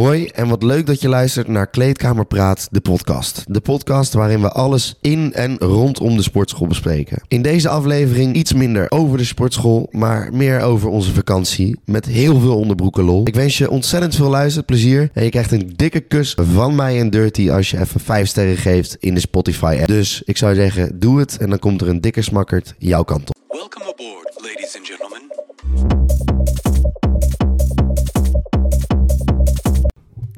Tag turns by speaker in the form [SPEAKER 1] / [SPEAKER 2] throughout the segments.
[SPEAKER 1] Hoi en wat leuk dat je luistert naar Kleedkamer Praat, de podcast. De podcast waarin we alles in en rondom de sportschool bespreken. In deze aflevering iets minder over de sportschool, maar meer over onze vakantie met heel veel onderbroeken lol. Ik wens je ontzettend veel luisterplezier en je krijgt een dikke kus van mij en Dirty als je even 5 sterren geeft in de Spotify app. Dus ik zou zeggen, doe het en dan komt er een dikke smakkerd jouw kant op.
[SPEAKER 2] Welcome aboard, ladies and gentlemen.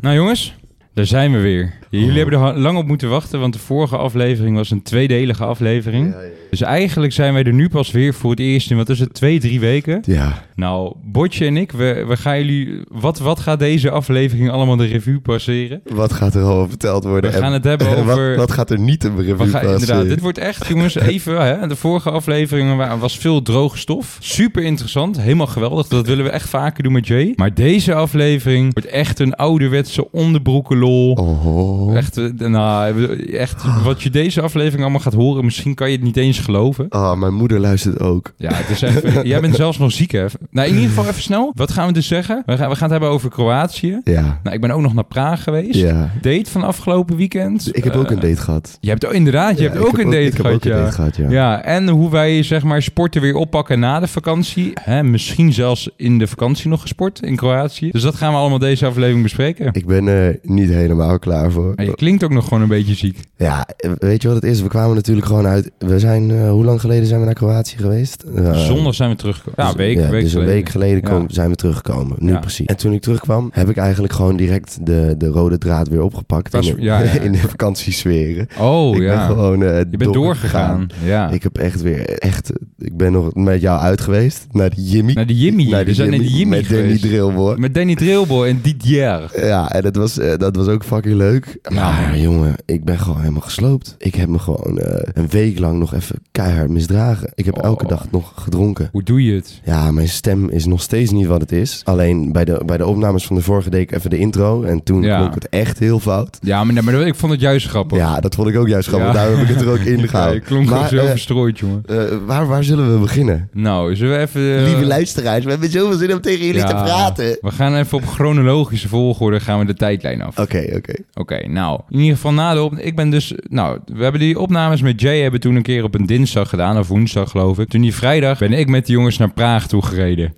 [SPEAKER 3] Nou jongens, daar zijn we weer. Jullie
[SPEAKER 1] Oh.
[SPEAKER 3] hebben er ha- lang op moeten wachten, want de vorige aflevering was een tweedelige aflevering. Dus eigenlijk zijn wij er nu pas weer voor het eerst in, wat is het, twee, drie weken?
[SPEAKER 1] Ja,
[SPEAKER 3] Nou, Botje en ik, we, we gaan jullie, wat, wat gaat deze aflevering allemaal de revue passeren?
[SPEAKER 1] wat gaat er al verteld worden?
[SPEAKER 3] We gaan het hebben
[SPEAKER 1] En
[SPEAKER 3] over-
[SPEAKER 1] Wat, wat gaat er niet in
[SPEAKER 3] We
[SPEAKER 1] de revue
[SPEAKER 3] gaan, inderdaad,
[SPEAKER 1] passeren?
[SPEAKER 3] dit wordt echt, jongens, even. Hè, de vorige afleveringen wa- was veel droge stof. Super interessant, helemaal geweldig. Dat willen we echt vaker doen met Jay. Maar deze aflevering wordt echt een ouderwetse onderbroekenlol.
[SPEAKER 1] Oh.
[SPEAKER 3] Echt, eh, nou, echt, wat je deze aflevering allemaal gaat horen, misschien kan je het niet eens geloven.
[SPEAKER 1] Ah, mijn moeder luistert ook.
[SPEAKER 3] Ja, het is even, jij bent zelfs nog ziek, hè? Nou, in ieder geval even snel. Wat gaan we dus zeggen? We gaan, we gaan het hebben over Kroatië.
[SPEAKER 1] Ja.
[SPEAKER 3] Nou, ik ben ook nog naar Praag geweest.
[SPEAKER 1] Ja.
[SPEAKER 3] Date van afgelopen weekend.
[SPEAKER 1] Ik heb ook
[SPEAKER 3] Eh,
[SPEAKER 1] een date gehad.
[SPEAKER 3] Je hebt, oh, inderdaad, je
[SPEAKER 1] Ja,
[SPEAKER 3] hebt
[SPEAKER 1] ik
[SPEAKER 3] ook
[SPEAKER 1] heb
[SPEAKER 3] een date
[SPEAKER 1] ik heb
[SPEAKER 3] gehad,
[SPEAKER 1] ook een
[SPEAKER 3] ja.
[SPEAKER 1] date gehad, ja.
[SPEAKER 3] Ja, en hoe wij zeg maar sporten weer oppakken na de vakantie. Hè, misschien zelfs in de vakantie nog gesport in Kroatië. Dus dat gaan we allemaal deze aflevering bespreken.
[SPEAKER 1] Ik ben er niet helemaal klaar voor.
[SPEAKER 3] Maar je klinkt ook nog gewoon een beetje ziek.
[SPEAKER 1] Ja, eh, weet je wat het is? We kwamen natuurlijk gewoon uit... We zijn... eh, hoe lang geleden zijn we naar Kroatië geweest? Eh,
[SPEAKER 3] Zondag zijn we teruggekomen.
[SPEAKER 1] dus-
[SPEAKER 3] Ja, week,
[SPEAKER 1] ja,
[SPEAKER 3] week
[SPEAKER 1] dus een
[SPEAKER 3] geleden.
[SPEAKER 1] week geleden
[SPEAKER 3] Ja.
[SPEAKER 1] komen- zijn we teruggekomen. Nu
[SPEAKER 3] Ja.
[SPEAKER 1] precies. En toen ik terugkwam, heb ik eigenlijk gewoon direct de, de rode draad weer opgepakt.
[SPEAKER 3] Was-
[SPEAKER 1] in, de,
[SPEAKER 3] ja, ja.
[SPEAKER 1] in de vakantiesferen.
[SPEAKER 3] Oh
[SPEAKER 1] ik
[SPEAKER 3] ja.
[SPEAKER 1] ben gewoon eh,
[SPEAKER 3] je bent doorgegaan. Ja.
[SPEAKER 1] Ik heb echt weer... Echt, ik ben nog met jou uit geweest. Naar de Jimmy.
[SPEAKER 3] naar de Jimmy.
[SPEAKER 1] Naar de
[SPEAKER 3] we zijn naar de Jimmy
[SPEAKER 1] Met Danny
[SPEAKER 3] geweest.
[SPEAKER 1] Drillboy.
[SPEAKER 3] met Danny Drillboy en Didier.
[SPEAKER 1] Ja, en dat was, eh, dat was ook fucking leuk. Maar jongen, ik ben gewoon helemaal gesloopt. Ik heb me gewoon eh, een week lang nog even keihard misdragen. Ik heb
[SPEAKER 3] Oh.
[SPEAKER 1] elke dag nog gedronken.
[SPEAKER 3] Hoe doe je het?
[SPEAKER 1] Ja, mijn stem is nog steeds niet wat het is. Alleen bij de, bij de opnames van de vorige week even de intro. En toen
[SPEAKER 3] Ja.
[SPEAKER 1] klonk het echt heel fout.
[SPEAKER 3] Ja, maar, maar ik vond het juist grappig.
[SPEAKER 1] Ja, dat vond ik ook juist grappig.
[SPEAKER 3] Ja.
[SPEAKER 1] Daarom heb ik het er ook in
[SPEAKER 3] Ja, je
[SPEAKER 1] gehouden.
[SPEAKER 3] klonk
[SPEAKER 1] Maar,
[SPEAKER 3] maar, zo
[SPEAKER 1] eh,
[SPEAKER 3] verstrooid, jongen.
[SPEAKER 1] Eh, waar, waar zullen we beginnen?
[SPEAKER 3] Nou, zullen we even... eh,
[SPEAKER 1] Lieve luisteraars, we hebben zoveel zin om tegen jullie
[SPEAKER 3] ja,
[SPEAKER 1] te praten.
[SPEAKER 3] We gaan even op chronologische volgorde gaan we de tijdlijn af.
[SPEAKER 1] Oké, oké.
[SPEAKER 3] Oké, nou, in ieder geval na de op... Ik ben dus... Nou, we hebben die opnames met Jay hebben toen een keer op een dinsdag gedaan, of woensdag geloof ik. Toen die vrijdag ben ik met de jongens naar Praag toe gereden.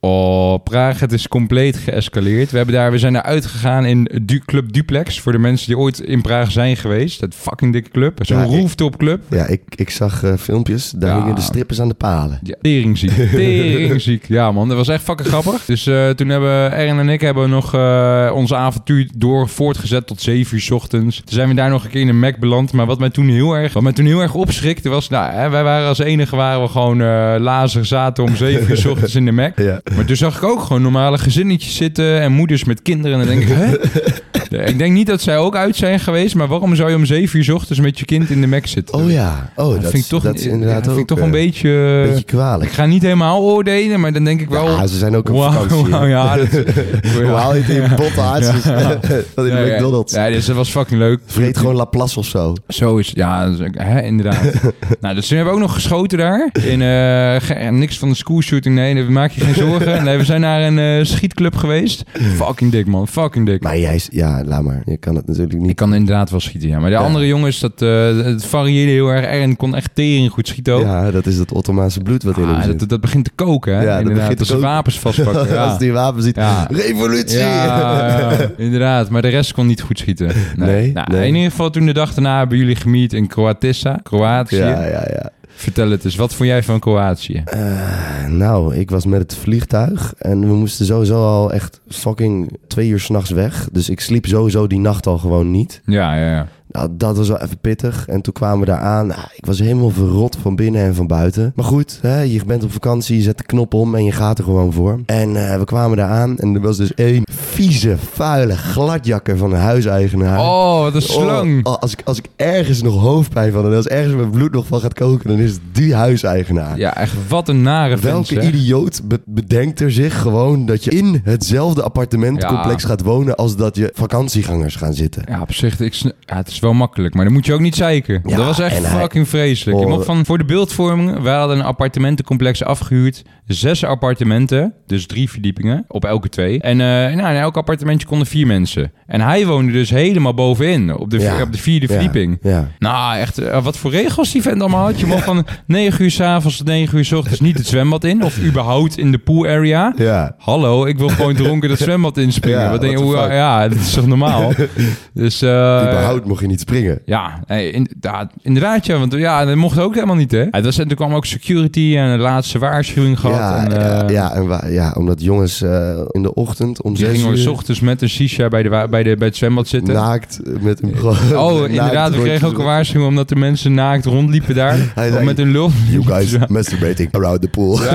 [SPEAKER 3] oh, Praag, het is compleet geëscaleerd. We, hebben daar, we zijn daar uitgegaan in du Club Duplex, voor de mensen die ooit in Praag zijn geweest. Dat fucking dikke club. Zo'n
[SPEAKER 1] Ja, ik-
[SPEAKER 3] rooftop club.
[SPEAKER 1] Ja, ik, ik zag eh, filmpjes. Daar
[SPEAKER 3] Ja.
[SPEAKER 1] hingen de strippers aan de palen.
[SPEAKER 3] Ja, teringziek. Teringziek. Ja, man. Dat was echt fucking grappig. Dus eh, toen hebben Erin en ik hebben nog eh ons avontuur door voortgezet tot 7 uur 's ochtends. Toen zijn we daar nog een keer in de Mac beland. Maar wat mij toen heel erg, wat mij toen heel erg opschrikte was... Nou, hè, wij waren als enige waren we gewoon eh lazig zaten om 7 uur 's ochtends in de Mac.
[SPEAKER 1] Ja.
[SPEAKER 3] Maar toen zag ik ook gewoon normale gezinnetjes zitten en moeders met kinderen. En dan denk ik, hè? Ja, Ik denk niet dat zij ook uit zijn geweest, maar waarom zou je om 7 uur 's ochtends met je kind in de Mac zitten?
[SPEAKER 1] Oh ja, oh, dat,
[SPEAKER 3] dat, vind ik toch,
[SPEAKER 1] dat is
[SPEAKER 3] ja,
[SPEAKER 1] inderdaad
[SPEAKER 3] dat
[SPEAKER 1] ook
[SPEAKER 3] vind ik toch
[SPEAKER 1] eh,
[SPEAKER 3] een beetje...
[SPEAKER 1] een beetje kwalijk.
[SPEAKER 3] Ik ga niet helemaal oordelen, maar dan denk ik wel...
[SPEAKER 1] Ja, ze zijn ook op
[SPEAKER 3] Wauw,
[SPEAKER 1] vakantie.
[SPEAKER 3] wauw, ja, dat,
[SPEAKER 1] Hoe haal je het in botten Dat in
[SPEAKER 3] Ja,
[SPEAKER 1] de
[SPEAKER 3] ja.
[SPEAKER 1] McDonald's.
[SPEAKER 3] Ja, dus dat was fucking leuk.
[SPEAKER 1] Vreet gewoon Laplace of zo.
[SPEAKER 3] Zo is Ja, dat is ook- hè, inderdaad. nou, dus toen hebben we ook nog geschoten daar. In, eh, ge- eh, niks van de school shooting, nee, daar maak je geen zorgen. Nee, we zijn naar een eh, schietclub geweest. Fucking dik, man. Fucking dik.
[SPEAKER 1] Maar jij... is- Ja, laat maar. Je kan het natuurlijk
[SPEAKER 3] Ik
[SPEAKER 1] niet...
[SPEAKER 3] kan inderdaad wel schieten, ja. Maar de
[SPEAKER 1] Ja.
[SPEAKER 3] andere jongens, dat eh, het varieerde heel erg. Erin kon echt tering goed schieten ook.
[SPEAKER 1] Ja, dat is dat Ottomaanse bloed wat in
[SPEAKER 3] Ah,
[SPEAKER 1] hem zit.
[SPEAKER 3] dat, dat begint te koken, hè?
[SPEAKER 1] Ja, dat
[SPEAKER 3] inderdaad.
[SPEAKER 1] begint
[SPEAKER 3] Als
[SPEAKER 1] te
[SPEAKER 3] ze
[SPEAKER 1] koken.
[SPEAKER 3] wapens vastpakken. ja.
[SPEAKER 1] Als die wapen ziet.
[SPEAKER 3] Ja.
[SPEAKER 1] Revolutie!
[SPEAKER 3] Ja, ja, inderdaad. Maar de rest kon niet goed schieten. Nee.
[SPEAKER 1] Nee,
[SPEAKER 3] nou,
[SPEAKER 1] nee.
[SPEAKER 3] In ieder geval, toen de dag daarna hebben jullie gemiet in Kroatissa. Kroatië.
[SPEAKER 1] ja, ja. ja.
[SPEAKER 3] Vertel het eens. Wat vond jij van Kroatië?
[SPEAKER 1] Eh, nou, ik was met het vliegtuig en we moesten sowieso al echt fucking twee uur s'nachts weg. Dus ik sliep sowieso die nacht al gewoon niet.
[SPEAKER 3] Ja, ja, ja.
[SPEAKER 1] Nou, dat was wel even pittig. En toen kwamen we daar aan. Nou, ik was helemaal verrot van binnen en van buiten. Maar goed, hè, je bent op vakantie, je zet de knop om en je gaat er gewoon voor. En eh, we kwamen daar aan en er was dus één vieze, vuile gladjakker van een huiseigenaar.
[SPEAKER 3] Oh, wat een
[SPEAKER 1] Oh,
[SPEAKER 3] slang.
[SPEAKER 1] oh, als, ik, als ik ergens nog hoofdpijn van en als ergens mijn bloed nog van gaat koken, dan is het die huiseigenaar.
[SPEAKER 3] Ja, echt wat een nare
[SPEAKER 1] Welke
[SPEAKER 3] vent, zeg.
[SPEAKER 1] idioot be- bedenkt er zich gewoon dat je in hetzelfde appartementencomplex
[SPEAKER 3] Ja.
[SPEAKER 1] gaat wonen als dat je vakantiegangers gaan zitten?
[SPEAKER 3] Ja, op zich, ik sn- ja, het is wel makkelijk, maar dan moet je ook niet zeiken.
[SPEAKER 1] Ja,
[SPEAKER 3] dat was echt
[SPEAKER 1] en hij-
[SPEAKER 3] fucking vreselijk. Je
[SPEAKER 1] Oh.
[SPEAKER 3] mocht van, voor de beeldvorming, wij hadden een appartementencomplex afgehuurd. Zes appartementen, dus drie verdiepingen, op elke twee. En eh, nou, in elk appartementje konden vier mensen. En hij woonde dus helemaal bovenin, op de,
[SPEAKER 1] Ja.
[SPEAKER 3] op de vierde
[SPEAKER 1] Ja,
[SPEAKER 3] verdieping.
[SPEAKER 1] ja.
[SPEAKER 3] Nou, echt, eh, wat voor regels die vent allemaal had. Je mocht van 9 uur s'avonds tot 9 uur s ochtends niet het zwembad in. Of überhaupt in de pool area.
[SPEAKER 1] Ja.
[SPEAKER 3] Hallo, ik wil gewoon dronken dat zwembad inspringen.
[SPEAKER 1] Ja,
[SPEAKER 3] Wat denk je,
[SPEAKER 1] what the
[SPEAKER 3] hoe-
[SPEAKER 1] fuck?
[SPEAKER 3] ja, dat is toch normaal? Dus, eh,
[SPEAKER 1] Überhaupt mocht je niet springen.
[SPEAKER 3] ja, eh, inderdaad, inderdaad ja, want ja, dat mocht ook helemaal niet, hè? Het was, en toen kwam ook security en een laatste waarschuwing gehad.
[SPEAKER 1] Ja,
[SPEAKER 3] en,
[SPEAKER 1] eh,
[SPEAKER 3] eh,
[SPEAKER 1] ja, en wa- ja, omdat jongens eh, in de ochtend om
[SPEAKER 3] Die
[SPEAKER 1] zes
[SPEAKER 3] gingen
[SPEAKER 1] uur
[SPEAKER 3] we 's ochtends met een shisha bij, de, wa- bij, de, bij het zwembad zitten.
[SPEAKER 1] naakt eh, met een pro-
[SPEAKER 3] oh,
[SPEAKER 1] naakt
[SPEAKER 3] inderdaad, we
[SPEAKER 1] rondjes
[SPEAKER 3] kregen ook
[SPEAKER 1] rond.
[SPEAKER 3] een waarschuwing omdat de mensen naakt rondliepen daar.
[SPEAKER 1] Hij zei,
[SPEAKER 3] met hun lul.
[SPEAKER 1] You guys masturbating around the pool.
[SPEAKER 3] Ja,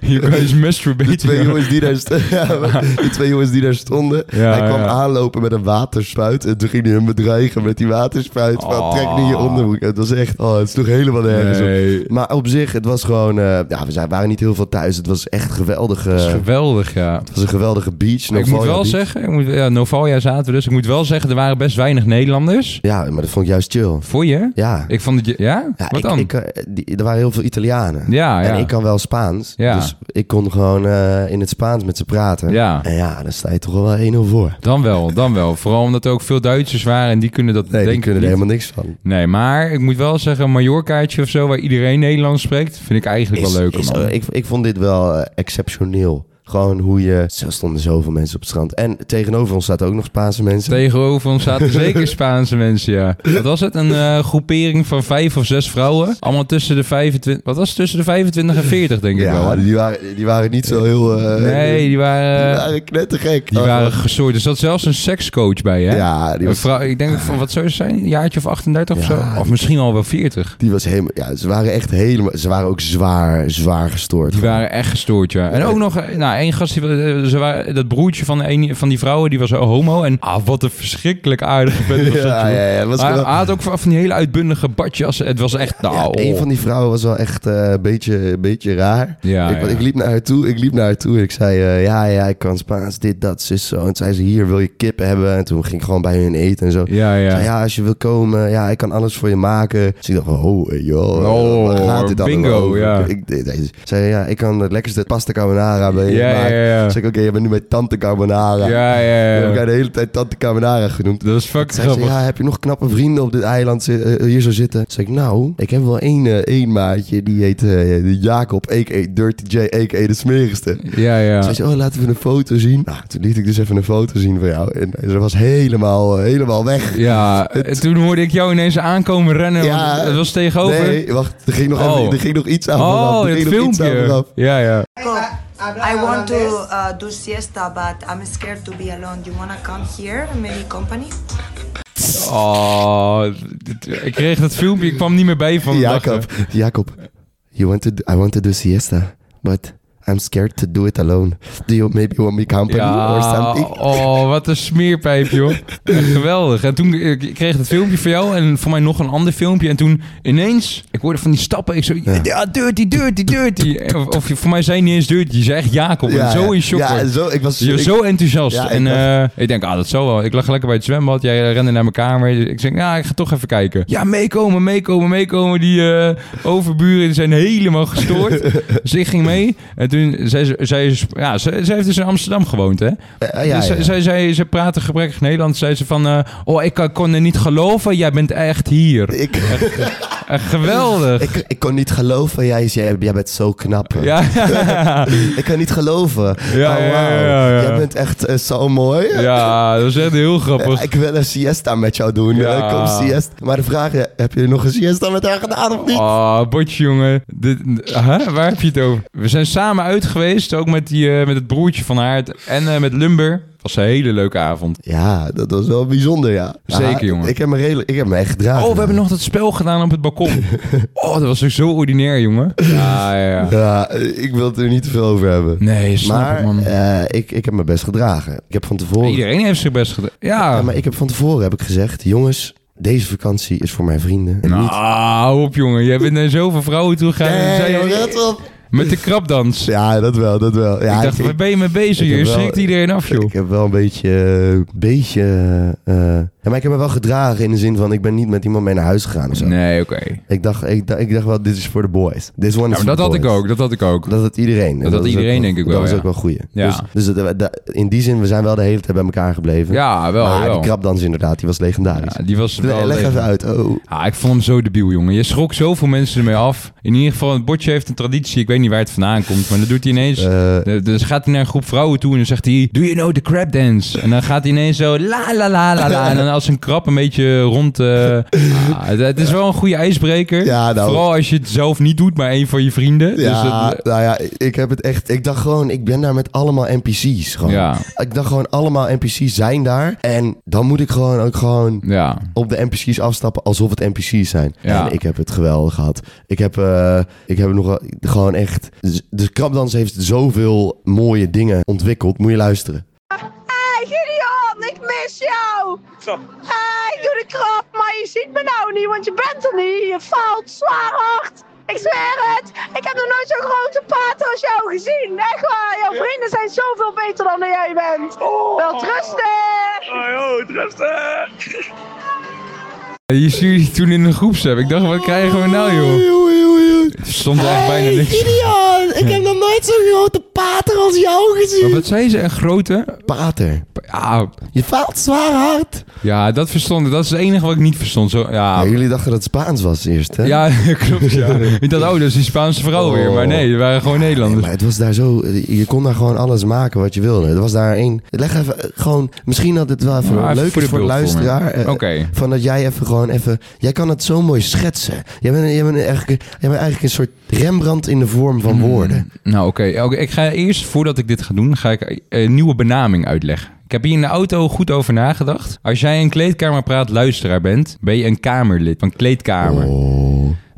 [SPEAKER 3] you guys
[SPEAKER 1] De twee,
[SPEAKER 3] masturbating.
[SPEAKER 1] jongens die daar st- ja, maar de twee jongens die daar stonden.
[SPEAKER 3] Ja,
[SPEAKER 1] hij kwam
[SPEAKER 3] ja.
[SPEAKER 1] aanlopen met een waterspuit. En toen ging hij hem bedreigen met die waterspuit. Van,
[SPEAKER 3] Oh.
[SPEAKER 1] Trek niet je onderbroek. Het was echt... Oh, het sloeg helemaal nergens op.
[SPEAKER 3] Nee.
[SPEAKER 1] Maar op zich, het was gewoon... eh, ja, we zijn, waren niet heel veel thuis. Het was echt geweldig. eh,
[SPEAKER 3] Dat is geweldig, ja.
[SPEAKER 1] het was een geweldige beach.
[SPEAKER 3] ik moet
[SPEAKER 1] Novalia
[SPEAKER 3] wel
[SPEAKER 1] beach.
[SPEAKER 3] zeggen, ik moet, ja, Novalia zaten we dus. Ik moet wel zeggen, er waren best weinig Nederlanders.
[SPEAKER 1] Ja, maar dat vond ik juist chill.
[SPEAKER 3] Voor je?
[SPEAKER 1] Ja.
[SPEAKER 3] Ik vond het... je- Ja?
[SPEAKER 1] Ja,
[SPEAKER 3] Wat
[SPEAKER 1] ik-
[SPEAKER 3] dan?
[SPEAKER 1] ik, eh, die- er waren heel veel Italianen.
[SPEAKER 3] ja, ja.
[SPEAKER 1] En ik kan wel Spaans.
[SPEAKER 3] Ja.
[SPEAKER 1] Dus ik kon gewoon eh, in het Spaans met ze praten.
[SPEAKER 3] Ja.
[SPEAKER 1] En ja, daar sta je toch wel 1-0 voor.
[SPEAKER 3] Dan wel, dan wel. Vooral omdat er ook veel Duitsers waren en die kunnen dat
[SPEAKER 1] Nee,
[SPEAKER 3] denken.
[SPEAKER 1] die kunnen er
[SPEAKER 3] niet.
[SPEAKER 1] helemaal niks van.
[SPEAKER 3] Nee, maar ik moet wel zeggen, een Mallorcaatje of zo, waar iedereen Nederlands spreekt, vind ik eigenlijk wel leuker, man.
[SPEAKER 1] Eh, ik, ik vond dit wel eh, exceptioneel. Gewoon hoe je... Er stonden zoveel mensen op het strand. En tegenover ons zaten ook nog Spaanse mensen.
[SPEAKER 3] Tegenover ons zaten zeker Spaanse mensen, ja. Wat was het? Een eh, groepering van vijf of zes vrouwen. Allemaal tussen de 25... Wat was het? Tussen de 25 en 40, denk ik wel.
[SPEAKER 1] ja,
[SPEAKER 3] hè?
[SPEAKER 1] die waren, die waren niet zo heel... eh,
[SPEAKER 3] Nee, die waren,
[SPEAKER 1] die waren knettergek.
[SPEAKER 3] die
[SPEAKER 1] Oh,
[SPEAKER 3] waren gestoord. Er zat zelfs een sekscoach bij, hè?
[SPEAKER 1] Ja, die
[SPEAKER 3] Een
[SPEAKER 1] was,
[SPEAKER 3] vrouw, ik denk van, wat zou ze zijn? Een jaartje of 38 of
[SPEAKER 1] Ja.
[SPEAKER 3] zo? Of misschien al wel 40.
[SPEAKER 1] die was helemaal... Ja, ze waren echt helemaal... Ze waren ook zwaar, zwaar gestoord.
[SPEAKER 3] Die waren echt gestoord, ja. En ook nog, eh, nou, één gast, die, eh, ze waren, dat broertje van, een, van die vrouwen, die was homo. En ah, wat een verschrikkelijk aardige vent was dat,
[SPEAKER 1] Ja,
[SPEAKER 3] joh.
[SPEAKER 1] ja, ja. dat was
[SPEAKER 3] Maar ah,
[SPEAKER 1] wel-
[SPEAKER 3] hij had ook van van die hele uitbundige badjassen. Het was echt, nou...
[SPEAKER 1] Ja, een van die vrouwen was wel echt eh, een beetje, een beetje raar.
[SPEAKER 3] Ja,
[SPEAKER 1] ik, want
[SPEAKER 3] ja.
[SPEAKER 1] ik liep naar haar toe, ik liep naar haar toe en ik zei, eh, ja, ja, ik kan Spaans, dit, dat, zus, zo. En toen zei ze, hier, wil je kip hebben? En toen ging ik gewoon bij hun eten en zo. Ik
[SPEAKER 3] oh. Ja, ja.
[SPEAKER 1] zei, ja, als je wil komen, ja, ik kan alles voor je maken. Dus ik dacht, oh, eh, joh, eh,
[SPEAKER 3] Oh,
[SPEAKER 1] waar gaat dit allemaal
[SPEAKER 3] bingo,
[SPEAKER 1] over?
[SPEAKER 3] ja.
[SPEAKER 1] Ik, ik- ik zei, ja, ik kan het lekkerste pasta carbonara bij je
[SPEAKER 3] Ja,
[SPEAKER 1] maken.
[SPEAKER 3] ja, ja.
[SPEAKER 1] Toen zei ik, oké, je bent nu bij tante carbonara.
[SPEAKER 3] Ja, ja, ja.
[SPEAKER 1] Ik heb elkaar de hele tijd tante carbonara genoemd.
[SPEAKER 3] Dat is fucking
[SPEAKER 1] Zei ze,
[SPEAKER 3] grappig.
[SPEAKER 1] ja, heb je nog knappe vrienden op dit eiland zi- eh, hier zo zitten? Zeg ik, nou, ik heb wel één, eh, één maatje, die heet eh, Jacob, a.k.a. Dirty J, a.k.a. de smerigste.
[SPEAKER 3] Ja, ja.
[SPEAKER 1] Zei ze, oh, laten we een foto zien. Nou, toen liet ik dus even een foto zien van jou. En eh, ze was helemaal, eh, helemaal weg.
[SPEAKER 3] Ja, en toen hoorde ik jou ineens aankomen rennen.
[SPEAKER 1] Ja.
[SPEAKER 3] want het was tegenover.
[SPEAKER 1] Nee, wacht, er ging nog,
[SPEAKER 3] Oh.
[SPEAKER 1] even, er ging nog iets aan
[SPEAKER 3] oh,
[SPEAKER 1] vooraf. Er
[SPEAKER 3] het
[SPEAKER 1] ging nog iets aan
[SPEAKER 3] filmpje.
[SPEAKER 1] vooraf.
[SPEAKER 3] Ja, ja.
[SPEAKER 4] I want to uh, do siesta, but I'm scared to be alone. You wanna come here, maybe company?
[SPEAKER 3] Oh, dit- ik kreeg dat filmpje. Ik kwam niet meer bij van de dag, hè.
[SPEAKER 1] Jacob, Jacob, you want to do, I want to do siesta, but I'm scared to do it alone. Do you maybe want me company or
[SPEAKER 3] Ja,
[SPEAKER 1] something?
[SPEAKER 3] oh, wat een smeerpijp, joh. Echt geweldig. En toen eh, ik kreeg het filmpje van jou en voor mij nog een ander filmpje. En toen ineens, ik hoorde van die stappen. Ik zo, ja, dirty, dirty, dirty. Of, of je- voor mij zei niet eens dirty, je zei echt Jacob. en zo in shock.
[SPEAKER 1] Ja,
[SPEAKER 3] hoor.
[SPEAKER 1] en zo, ik was
[SPEAKER 3] Je was
[SPEAKER 1] ik-
[SPEAKER 3] zo enthousiast.
[SPEAKER 1] Ja, ik
[SPEAKER 3] en
[SPEAKER 1] dacht-
[SPEAKER 3] eh, ik denk, ah, dat zal wel. Ik lag lekker bij het zwembad. Jij eh, rende naar mijn kamer. Dus ik zeg, ja, ik ga toch even kijken. Ja, meekomen, meekomen, meekomen. Die eh, overburen die zijn helemaal gestoord. dus ik ging mee. En toen zei ze, zei ze- ja, ze, ze heeft dus in Amsterdam gewoond, hè?
[SPEAKER 1] Eh, ja,
[SPEAKER 3] dus
[SPEAKER 1] ja.
[SPEAKER 3] Zij, zij, zij- ze praatte gebrekkig Nederlands. Zei ze van, eh, oh, ik eh, kon er niet geloven. Jij bent echt hier.
[SPEAKER 1] Ik,
[SPEAKER 3] Echt geweldig.
[SPEAKER 1] ik, ik kon niet geloven. Jij, is- jij, jij bent zo knap. eh.
[SPEAKER 3] Ja,
[SPEAKER 1] Ik kan niet geloven. Ja,
[SPEAKER 3] ja, ja, ja, ja.
[SPEAKER 1] Jij bent echt eh, zo mooi.
[SPEAKER 3] ja, dat is echt heel
[SPEAKER 1] Eh,
[SPEAKER 3] grappig.
[SPEAKER 1] Ik wil een siesta met jou doen.
[SPEAKER 3] Ja.
[SPEAKER 1] Eh, Kom siesta. Maar de vraag is, heb je nog een siesta met haar gedaan of niet?
[SPEAKER 3] Ah, botje jongen. Dit, huh? Waar heb je het over? We zijn samen uit geweest, ook met, die, eh, met het broertje van haar en eh, met Lumber. Was een hele leuke avond.
[SPEAKER 1] Ja, dat was wel bijzonder, ja.
[SPEAKER 3] Zeker,
[SPEAKER 1] Ja,
[SPEAKER 3] jongen.
[SPEAKER 1] Ik heb me, redelijk, ik heb me echt gedragen.
[SPEAKER 3] Oh, we hebben nog dat spel gedaan op het balkon. Oh, dat was ook zo ordinair, jongen. Ja, ja, ja.
[SPEAKER 1] Ja, eh, ik wil het er niet te veel over hebben.
[SPEAKER 3] Nee, snap ik,
[SPEAKER 1] maar
[SPEAKER 3] man.
[SPEAKER 1] eh, ik, ik heb me best gedragen. Ik heb van tevoren...
[SPEAKER 3] Iedereen heeft zijn best gedaan.
[SPEAKER 1] Ja,
[SPEAKER 3] Ja.
[SPEAKER 1] maar ik heb van tevoren heb ik gezegd, jongens, deze vakantie is voor mijn vrienden. En
[SPEAKER 3] Nou,
[SPEAKER 1] niet...
[SPEAKER 3] hou op, jongen. Jij bent naar zoveel vrouwen toe gegaan. en eh, zei je-
[SPEAKER 1] joh, let op.
[SPEAKER 3] Met de krabdans.
[SPEAKER 1] Ja, dat wel, dat wel. Ja,
[SPEAKER 3] ik dacht,
[SPEAKER 1] ik-
[SPEAKER 3] waar ben je mee bezig?
[SPEAKER 1] ik heb
[SPEAKER 3] Je
[SPEAKER 1] wel-
[SPEAKER 3] schrikt iedereen af, joh.
[SPEAKER 1] Ik heb wel een beetje... eh, beetje eh, ja, maar ik heb me wel gedragen in de zin van... Ik ben niet met iemand mee naar huis gegaan of zo.
[SPEAKER 3] Nee, oké.
[SPEAKER 1] Ik, dacht, ik, dacht, ik dacht wel, dit is voor de boys. This one
[SPEAKER 3] Ja,
[SPEAKER 1] is
[SPEAKER 3] maar
[SPEAKER 1] for
[SPEAKER 3] dat
[SPEAKER 1] the
[SPEAKER 3] had ik
[SPEAKER 1] boys.
[SPEAKER 3] ook, dat had ik ook.
[SPEAKER 1] Dat had iedereen. En
[SPEAKER 3] Dat had
[SPEAKER 1] was
[SPEAKER 3] iedereen,
[SPEAKER 1] ook
[SPEAKER 3] denk ik wel,
[SPEAKER 1] Dat was
[SPEAKER 3] ja.
[SPEAKER 1] ook wel een goeie.
[SPEAKER 3] Ja.
[SPEAKER 1] Dus, dus dat- dat- in die zin, we zijn wel de hele tijd bij elkaar gebleven.
[SPEAKER 3] Ja, wel,
[SPEAKER 1] maar die
[SPEAKER 3] wel.
[SPEAKER 1] krabdans inderdaad, die was legendarisch.
[SPEAKER 3] Ja, die was
[SPEAKER 1] Le-
[SPEAKER 3] wel
[SPEAKER 1] Leg
[SPEAKER 3] leeg.
[SPEAKER 1] even uit. Oh,
[SPEAKER 3] Ah, ik vond hem zo debiel, jongen. Je schrok zoveel mensen ermee af. In ieder geval, het bordje heeft een traditie. Ik weet niet waar het vandaan komt, maar dat doet hij ineens.
[SPEAKER 1] eh,
[SPEAKER 3] Eh, Dus gaat hij naar een groep vrouwen toe en dan zegt hij... Do you know the crab dance? En dan gaat hij ineens zo la la la la la. En dan als een krab een beetje rond... eh, ah, het- het is wel een goede ijsbreker.
[SPEAKER 1] Ja, nou-
[SPEAKER 3] Vooral als je het zelf niet doet, maar een van je vrienden. Dus
[SPEAKER 1] ja,
[SPEAKER 3] dat-
[SPEAKER 1] nou ja, ik heb het echt. Ik dacht gewoon, ik ben daar met allemaal NPC's. Gewoon.
[SPEAKER 3] Ja.
[SPEAKER 1] Ik dacht gewoon, allemaal NPC's zijn daar. En dan moet ik gewoon ook gewoon
[SPEAKER 3] ja.
[SPEAKER 1] op de NPC's afstappen alsof het NPC's zijn.
[SPEAKER 3] Ja.
[SPEAKER 1] En ik heb het geweldig gehad. Ik heb, eh, ik heb nog wel- gewoon echt. De krabdans heeft zoveel mooie dingen ontwikkeld. Moet je luisteren.
[SPEAKER 5] Hey Gideon, ik mis jou! Hey, doe de krap, maar je ziet me nou niet, want je bent er niet. Je faalt zwaar hard. Ik zweer het, ik heb nog nooit zo'n grote paard als jou gezien. Echt waar, jouw vrienden zijn zoveel beter dan jij bent. Wel trusten!
[SPEAKER 3] Eh, Je stuurde die toen in een groepsapp. Ik dacht, wat krijgen we nou, joh? Er Stond er echt bijna niks.
[SPEAKER 1] ik heb nog nooit zo'n grote pater als jou
[SPEAKER 3] Maar
[SPEAKER 1] gezien.
[SPEAKER 3] wat zei ze? Een grote?
[SPEAKER 1] Pater,
[SPEAKER 3] Ja,
[SPEAKER 1] je faalt zwaar hard.
[SPEAKER 3] ja, dat verstond ik. Dat is het enige wat ik niet verstond. Zo, ja,
[SPEAKER 1] Ja, jullie dachten dat het Spaans was eerst, hè?
[SPEAKER 3] ja, klopt. Ja. Ik dacht, oh, dat is die Spaanse vrouw
[SPEAKER 1] Oh.
[SPEAKER 3] weer. Maar nee, er waren gewoon
[SPEAKER 1] Nee,
[SPEAKER 3] Nederlanders.
[SPEAKER 1] maar het was daar zo... Je kon daar gewoon alles maken wat je wilde. Het was daar één... Leg even... eh, Gewoon... Misschien dat het wel even
[SPEAKER 3] Maar even
[SPEAKER 1] leuk
[SPEAKER 3] voor
[SPEAKER 1] is
[SPEAKER 3] de
[SPEAKER 1] voor de
[SPEAKER 3] beeldvorming.
[SPEAKER 1] luisteraar. eh,
[SPEAKER 3] Oké.
[SPEAKER 1] Van dat jij even gewoon even... Jij kan het zo mooi schetsen. Jij bent, jij bent, eigenlijk, jij bent eigenlijk een soort Rembrandt in de vorm van woorden.
[SPEAKER 3] Nou, oké. Oké, ik ga eerst, voordat ik dit ga doen, ga ik eh, een nieuwe benaming uitleggen. Ik heb hier in de auto goed over nagedacht. Als jij een kleedkamerpraat luisteraar bent, ben je een kamerlid van kleedkamer.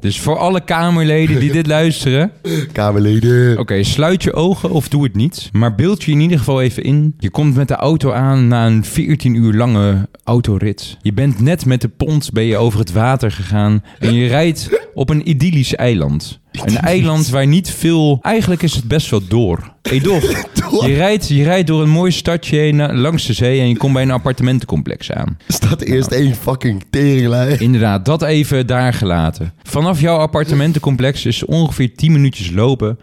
[SPEAKER 3] Dus voor alle kamerleden die dit luisteren,
[SPEAKER 1] Kamerleden.
[SPEAKER 3] Oké, sluit je ogen of doe het niet. Maar beeld je in ieder geval even in. Je komt met de auto aan na een 14 uur lange autorit. Je bent net met de pont ben je over het water gegaan. En je rijdt op een idyllisch eiland. Een eiland waar niet veel... Eigenlijk is het best wel door. Hey, doch. Je rijdt, je rijdt door een mooi stadje heen eh, langs de zee en je komt bij een appartementencomplex aan.
[SPEAKER 1] Staat eerst één fucking teringlijn.
[SPEAKER 3] Inderdaad, dat even daar gelaten. Vanaf jouw appartementencomplex is ongeveer 10 minuutjes lopen.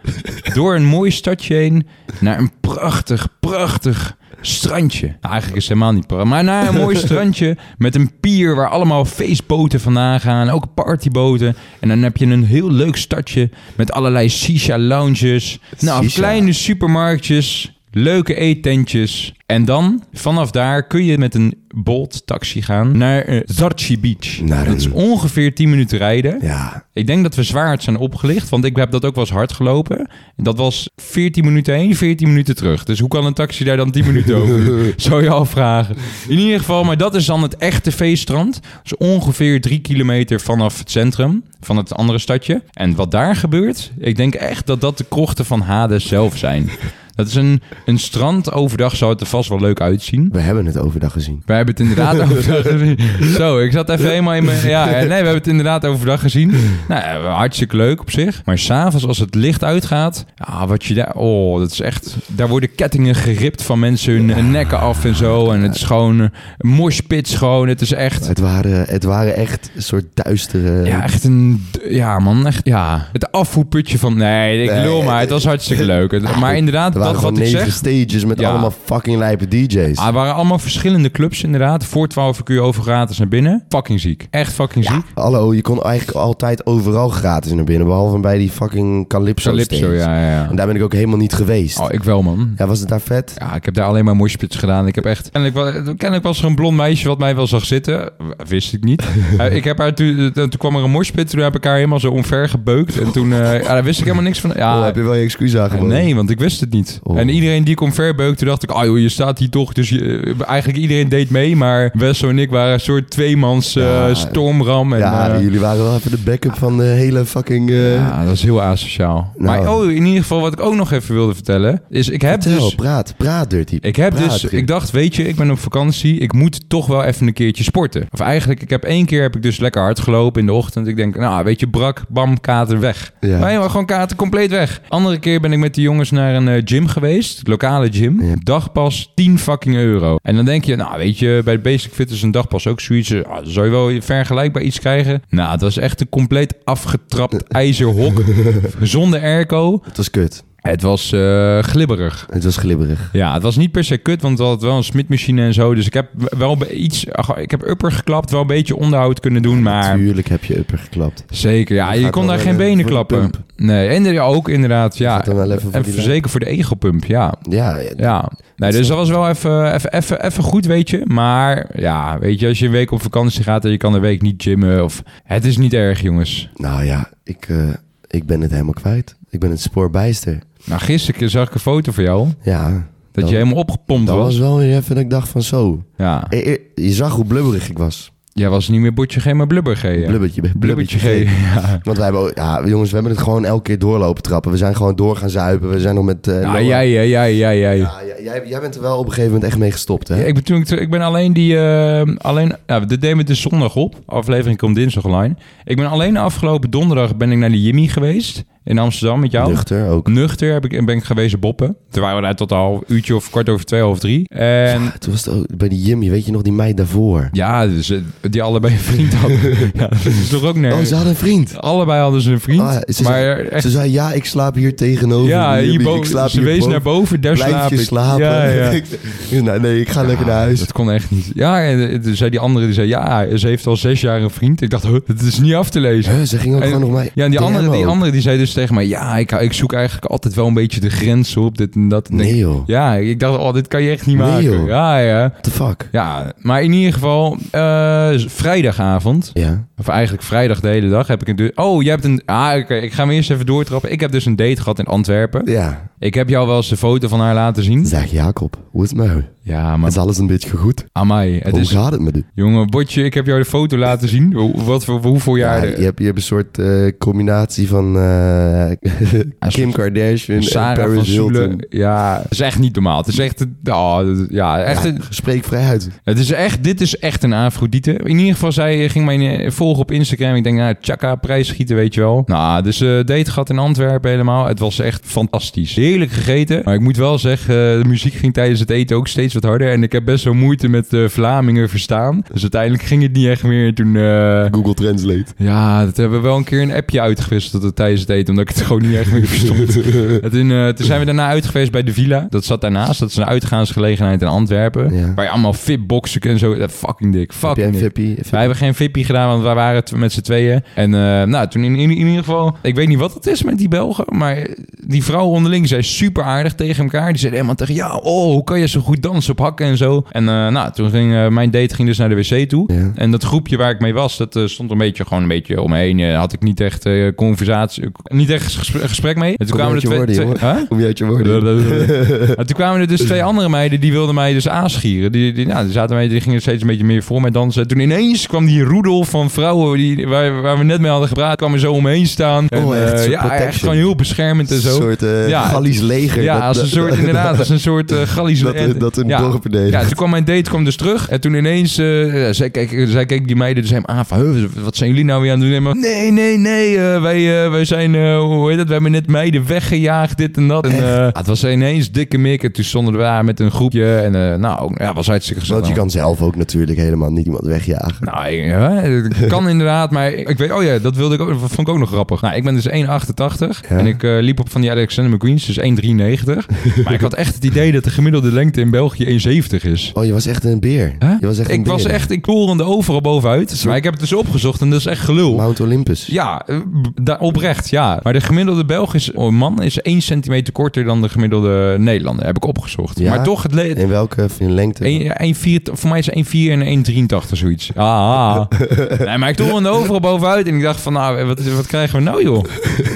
[SPEAKER 3] Door een mooi stadje heen naar een prachtig, prachtig strandje. Nou, eigenlijk is het helemaal niet prachtig. Maar naar een mooi strandje met een pier waar allemaal feestboten vandaan gaan. Ook partyboten. En dan heb je een heel leuk stadje met allerlei shisha lounges. Nou,
[SPEAKER 1] Shisha.
[SPEAKER 3] kleine supermarktjes. Leuke eetentjes. En dan, vanaf daar, kun je met een Bolt taxi gaan naar eh, Zarchi Beach.
[SPEAKER 1] Naar
[SPEAKER 3] dat is
[SPEAKER 1] een-
[SPEAKER 3] ongeveer 10 minuten rijden.
[SPEAKER 1] Ja.
[SPEAKER 3] Ik denk dat we zwaar zijn opgelicht, want ik heb dat ook wel eens hard gelopen. Dat was 14 minuten heen, 14 minuten terug. Dus hoe kan een taxi daar dan 10 minuten over? doen? Zou je afvragen. In ieder geval, maar dat is dan het echte feeststrand. Dus ongeveer 3 kilometer vanaf het centrum, van het andere stadje. En wat daar gebeurt, ik denk echt dat dat de krochten van Hades zelf zijn. Dat is een, een strand. Overdag zou het er vast wel leuk uitzien.
[SPEAKER 1] We hebben het overdag gezien.
[SPEAKER 3] Wij hebben het inderdaad overdag gezien. Zo, ik zat even helemaal in mijn... Ja, ja, nee, we hebben het inderdaad overdag gezien. Nou, ja, hartstikke leuk op zich. Maar s'avonds als het licht uitgaat... Ja, wat je daar... Oh, dat is echt... Daar worden kettingen geript van mensen hun eh, nekken af en zo. En het is gewoon... eh, Een morspit schoon. Het is echt...
[SPEAKER 1] Het waren, het waren echt een soort duistere...
[SPEAKER 3] Ja, echt een... Ja, man. Echt, ja. Het afvoerputje van... Nee, ik
[SPEAKER 1] Nee,
[SPEAKER 3] lul maar. Het was hartstikke leuk. Het- Maar inderdaad,
[SPEAKER 1] er waren
[SPEAKER 3] dat
[SPEAKER 1] gewoon
[SPEAKER 3] wat ik
[SPEAKER 1] negen
[SPEAKER 3] zeg...
[SPEAKER 1] stages met
[SPEAKER 3] Ja.
[SPEAKER 1] allemaal fucking lijpe DJ's.
[SPEAKER 3] Ah, het waren allemaal verschillende clubs inderdaad. Voor 12 uur over gratis naar binnen. Fucking ziek. Echt fucking ziek.
[SPEAKER 1] Hallo, je kon eigenlijk altijd overal gratis naar binnen. Behalve bij die fucking Calypso.
[SPEAKER 3] Calypso,
[SPEAKER 1] stage.
[SPEAKER 3] ja, ja, ja.
[SPEAKER 1] En daar ben ik ook helemaal niet geweest.
[SPEAKER 3] Oh, ik wel, man.
[SPEAKER 1] Ja, was het daar vet?
[SPEAKER 3] Ja, ik heb daar alleen maar moshpits gedaan. Ik heb echt... Kennelijk, wa- kennelijk was er een blond meisje wat mij wel zag zitten. W- Wist ik niet. Eh, ik heb haar toen, eh, toen kwam er een moshpit. Toen heb ik haar helemaal zo omver gebeukt. En toen eh, ja, daar wist ik helemaal niks van.
[SPEAKER 1] Oh,
[SPEAKER 3] Ja, eh,
[SPEAKER 1] heb je wel je excuus aangeboden?
[SPEAKER 3] nee, want ik wist het niet. gebeurd.
[SPEAKER 1] Oh.
[SPEAKER 3] En iedereen die ik omverbeukte, toen dacht ik, ah joh, je staat hier toch. Dus je- eigenlijk iedereen deed mee, maar Wesso en ik waren een soort tweemans eh,
[SPEAKER 1] Ja.
[SPEAKER 3] stormram. En,
[SPEAKER 1] ja,
[SPEAKER 3] eh,
[SPEAKER 1] jullie waren wel even de backup van de hele fucking... eh,
[SPEAKER 3] ja, dat is heel asociaal.
[SPEAKER 1] Nou.
[SPEAKER 3] Maar oh, in ieder geval wat ik ook nog even wilde vertellen, is ik heb
[SPEAKER 1] vertel,
[SPEAKER 3] dus...
[SPEAKER 1] praat, praat, Dirty.
[SPEAKER 3] Ik heb
[SPEAKER 1] Praat,
[SPEAKER 3] dus,
[SPEAKER 1] Dirk.
[SPEAKER 3] ik dacht, weet je, ik ben op vakantie. Ik moet toch wel even een keertje sporten. Of eigenlijk, ik heb één keer heb ik dus lekker hard gelopen in de ochtend. Ik denk, nou, weet je, brak, bam, kater weg.
[SPEAKER 1] Ja.
[SPEAKER 3] Maar helemaal gewoon kater compleet weg. Andere keer ben ik met de jongens naar een eh, gym geweest. Lokale gym.
[SPEAKER 1] Ja.
[SPEAKER 3] Dagpas 10 fucking euro. En dan denk je, nou, weet je, bij Basic Fit is een dagpas ook zoiets. eh, ah, dan zou je wel vergelijkbaar iets krijgen? Nou, het was echt een compleet afgetrapt ijzerhok. zonder airco.
[SPEAKER 1] Het was kut.
[SPEAKER 3] Het was eh, glibberig.
[SPEAKER 1] Het was glibberig.
[SPEAKER 3] Ja, het was niet per se kut, want we hadden wel een smitmachine en zo. Dus ik heb wel be- iets, ach, ik heb upper geklapt, wel een beetje onderhoud kunnen doen, maar...
[SPEAKER 1] Tuurlijk heb je upper geklapt.
[SPEAKER 3] Zeker, ja, je
[SPEAKER 1] gaat
[SPEAKER 3] kon
[SPEAKER 1] wel
[SPEAKER 3] daar
[SPEAKER 1] weer
[SPEAKER 3] geen
[SPEAKER 1] de-
[SPEAKER 3] benen
[SPEAKER 1] voor de
[SPEAKER 3] klappen.
[SPEAKER 1] pump.
[SPEAKER 3] Nee, en er- ja, ook inderdaad, ja.
[SPEAKER 1] gaat dan wel even voor
[SPEAKER 3] en
[SPEAKER 1] die
[SPEAKER 3] voor-
[SPEAKER 1] lijn.
[SPEAKER 3] zeker voor de ego-pump, ja.
[SPEAKER 1] Ja, ja,
[SPEAKER 3] Ja, nee, dus dat was wel even, even, even, even goed, weet je. Maar ja, weet je, als je een week op vakantie gaat en je kan een week niet gymmen of... Het is niet erg, jongens.
[SPEAKER 1] nou ja, ik, eh, ik ben het helemaal kwijt. Ik ben het spoorbijster.
[SPEAKER 3] Nou, gisteren zag ik een foto van jou,
[SPEAKER 1] Ja,
[SPEAKER 3] dat je helemaal opgepompt
[SPEAKER 1] dat
[SPEAKER 3] was.
[SPEAKER 1] was wel weer even dat ik dacht van zo.
[SPEAKER 3] Ja,
[SPEAKER 1] Eh, eh, Je zag hoe blubberig ik was.
[SPEAKER 3] jij was niet meer botje G, maar blubber G. hè?
[SPEAKER 1] Blubbertje,
[SPEAKER 3] Blubbertje G, ja.
[SPEAKER 1] Want wij hebben, ook- ja, jongens, we hebben het gewoon elke keer doorlopen trappen. We zijn gewoon door gaan zuipen. We zijn nog met... eh,
[SPEAKER 3] Ja,
[SPEAKER 1] Noah-
[SPEAKER 3] jij, jij, jij, jij, jij.
[SPEAKER 1] Ja, j- jij, jij bent er wel op een gegeven moment echt mee gestopt, hè?
[SPEAKER 3] Ja, ik, ben toen, ik ter- ik ben alleen die... eh, alleen, nou, dit nemen we dus zondag op. Aflevering komt dinsdag online. Ik ben alleen afgelopen donderdag ben ik naar de Jimmy geweest. In Amsterdam met jou.
[SPEAKER 1] Nuchter ook.
[SPEAKER 3] Nuchter heb ik, ben ik geweest boppen. Toen waren we daar tot al een uurtje of kwart over twee, half drie. En
[SPEAKER 1] Ja, toen was het ook bij die Jimmy, weet je nog, die meid daarvoor.
[SPEAKER 3] ja, dus, eh, die allebei een vriend hadden. ja, dat is toch ook
[SPEAKER 1] Oh, ze
[SPEAKER 3] nergens.
[SPEAKER 1] had een vriend.
[SPEAKER 3] allebei hadden ze een vriend.
[SPEAKER 1] Ah, ze,
[SPEAKER 3] maar
[SPEAKER 1] zei,
[SPEAKER 3] echt
[SPEAKER 1] ze zei, ja, ik slaap hier tegenover.
[SPEAKER 3] Ja,
[SPEAKER 1] Jimmy,
[SPEAKER 3] hierbo-
[SPEAKER 1] ik slaap
[SPEAKER 3] ze wees
[SPEAKER 1] hierboven.
[SPEAKER 3] naar boven, daar
[SPEAKER 1] Blijf
[SPEAKER 3] slaap
[SPEAKER 1] je
[SPEAKER 3] ik.
[SPEAKER 1] slapen.
[SPEAKER 3] Ja, ja.
[SPEAKER 1] Ik- nou, nee, ik ga lekker naar huis.
[SPEAKER 3] Dat kon echt niet. Ja, en eh, toen zei die andere, die zei, ja, ze heeft al zes jaar een vriend. Ik dacht, huh, het is niet af te lezen.
[SPEAKER 1] Huh, ze ging ook
[SPEAKER 3] En-
[SPEAKER 1] gewoon nog mij...
[SPEAKER 3] Ja, en die
[SPEAKER 1] DM
[SPEAKER 3] andere, die
[SPEAKER 1] ook.
[SPEAKER 3] andere die zei dus tegen mij... Ja, ik, ik zoek eigenlijk altijd wel een beetje de grens op, dit en dat. En
[SPEAKER 1] Nee,
[SPEAKER 3] denk-
[SPEAKER 1] joh.
[SPEAKER 3] Ja, ik dacht, oh, dit kan je echt niet
[SPEAKER 1] Nee,
[SPEAKER 3] maken.
[SPEAKER 1] joh.
[SPEAKER 3] Ja, ja.
[SPEAKER 1] What the fuck?
[SPEAKER 3] Ja, maar in ieder geval, eh, vrijdagavond...
[SPEAKER 1] Ja.
[SPEAKER 3] Of eigenlijk vrijdag de hele dag heb ik een... du- Oh, jij hebt een... Ah, oké, ik ga hem eerst even doortrappen. Ik heb dus een date gehad in Antwerpen.
[SPEAKER 1] Ja.
[SPEAKER 3] Ik heb jou wel eens de foto van haar laten zien.
[SPEAKER 1] Zeg, Jacob, hoe is het met jou?
[SPEAKER 3] Ja, maar...
[SPEAKER 1] Is alles een beetje goed?
[SPEAKER 3] Amai, het
[SPEAKER 1] Hoe
[SPEAKER 3] is...
[SPEAKER 1] gaat het met u?
[SPEAKER 3] Jongen, botje, ik heb jou de foto laten zien. Hoe- Wat voor, hoeveel
[SPEAKER 1] Ja,
[SPEAKER 3] jaar...
[SPEAKER 1] je, hebt, je hebt een soort eh, combinatie van eh, Kim Kardashian en
[SPEAKER 3] Sarah van
[SPEAKER 1] Paris Hilton.
[SPEAKER 3] Soelen. Ja, het is echt niet normaal. Het is echt... Oh, dat- ja, echt
[SPEAKER 1] Ja,
[SPEAKER 3] een-
[SPEAKER 1] spreek vrij uit.
[SPEAKER 3] het is echt, dit is echt een Afrodite. In ieder geval, zij ging mij eh, volgen op Instagram. Ik denk, nou, tjaka, prijs schieten, weet je wel. Nou, dus eh date gehad in Antwerpen helemaal. Het was echt fantastisch. Heerlijk gegeten. Maar ik moet wel zeggen, eh, de muziek ging tijdens het eten ook steeds wat harder. En ik heb best wel moeite met eh Vlamingen verstaan. Dus uiteindelijk ging het niet echt meer. Toen, eh,
[SPEAKER 1] Google Translate.
[SPEAKER 3] ja, dat hebben we wel een keer een appje uitgewisseld dat tijdens het eten, omdat ik het gewoon niet echt meer verstond. Het in, eh, toen zijn we daarna uit geweest bij de villa. Dat zat daarnaast. Dat is een uitgaansgelegenheid in Antwerpen.
[SPEAKER 1] Ja.
[SPEAKER 3] Waar je allemaal fitboxen en zo. eh, Fucking dik.
[SPEAKER 1] Heb jij
[SPEAKER 3] Fucking
[SPEAKER 1] een
[SPEAKER 3] dik.
[SPEAKER 1] vippie?
[SPEAKER 3] Wij hebben geen vippie gedaan, want wij waren t- met z'n tweeën. En eh, nou, toen in, in, in ieder geval... Ik weet niet wat het is met die Belgen, maar die vrouwen onderling zijn super aardig tegen elkaar. Die zeiden helemaal tegen, ja, oh, hoe kan je zo goed dansen op hakken en zo. En eh, nou, toen ging eh, mijn date ging dus naar de wc toe.
[SPEAKER 1] Ja.
[SPEAKER 3] En dat groepje waar ik mee was, dat eh, stond een beetje gewoon een beetje omheen. Eh, had ik niet echt eh, conversatie, niet echt gesprek, gesprek mee. En toen
[SPEAKER 1] Kom uit je woorden,
[SPEAKER 3] twee-
[SPEAKER 1] jongen.
[SPEAKER 3] Huh?
[SPEAKER 1] Kom je uit je woorden?
[SPEAKER 3] En toen kwamen er dus twee andere meiden, die wilden mij dus aanschieren. Die, die, nou, die, zaten mij, die gingen steeds een beetje meer voor mij dansen. Toen ineens kwam die roedel van vrouwen die, waar, waar we net mee hadden gepraat, kwam er zo omheen staan. en,
[SPEAKER 1] Oh, echt,
[SPEAKER 3] eh,
[SPEAKER 1] soort
[SPEAKER 3] ja, echt
[SPEAKER 1] protection.
[SPEAKER 3] gewoon heel beschermend en
[SPEAKER 1] Een
[SPEAKER 3] zo.
[SPEAKER 1] soort eh
[SPEAKER 3] Ja.
[SPEAKER 1] Gallisch leger.
[SPEAKER 3] ja,
[SPEAKER 1] Dat-
[SPEAKER 3] als een
[SPEAKER 1] dat-
[SPEAKER 3] soort, inderdaad, als een soort eh Gallisch...
[SPEAKER 1] Dat-
[SPEAKER 3] en-
[SPEAKER 1] dat een
[SPEAKER 3] ja,
[SPEAKER 1] dorp verdedigt.
[SPEAKER 3] Ja, toen kwam mijn date kwam dus terug. En toen ineens, eh, ja, zij, keek, zij keek die meiden dus helemaal aan van... "Huh, Wat zijn jullie nou weer aan het doen? En maar, nee, nee, nee, eh, wij, eh, wij zijn, eh, hoe heet dat? We hebben net meiden weggejaagd, dit en dat. En, eh, ja, het was ineens dikke mik. En toen stonden we daar met een groepje. En eh, nou, ook- ja, het was hartstikke gezellig.
[SPEAKER 1] Want je kan zelf ook natuurlijk helemaal niet iemand wegjagen.
[SPEAKER 3] Nou, ik- ja, het kan inderdaad, maar ik weet... Oh ja, dat wilde ik ook, dat vond ik ook nog grappig. Nou, ik ben dus 1,88 en ik eh, liep op van die Alexander McQueen's, dus 1,93. maar ik had echt het idee dat de gemiddelde lengte in België 1,70 is.
[SPEAKER 1] Oh, je was echt een beer.
[SPEAKER 3] Hè?
[SPEAKER 1] Je was echt een
[SPEAKER 3] ik
[SPEAKER 1] beer.
[SPEAKER 3] was echt, ik korende overal bovenuit. Maar ik heb het dus opgezocht en dat is echt gelul.
[SPEAKER 1] Mount Olympus.
[SPEAKER 3] Ja, eh, da- oprecht, ja. Maar de gemiddelde Belgische oh, man is 1 centimeter korter dan de gemiddelde Nederlander. Heb ik opgezocht.
[SPEAKER 1] Ja?
[SPEAKER 3] Maar toch, het le-
[SPEAKER 1] In welke in lengte?
[SPEAKER 3] Eén- ja, 1,4 voor mij is 1,4 en 1,83 zoiets. Ah, ah. nee, maar ik doe er overal bovenuit en ik dacht van, nou, wat, wat krijgen we nou, joh?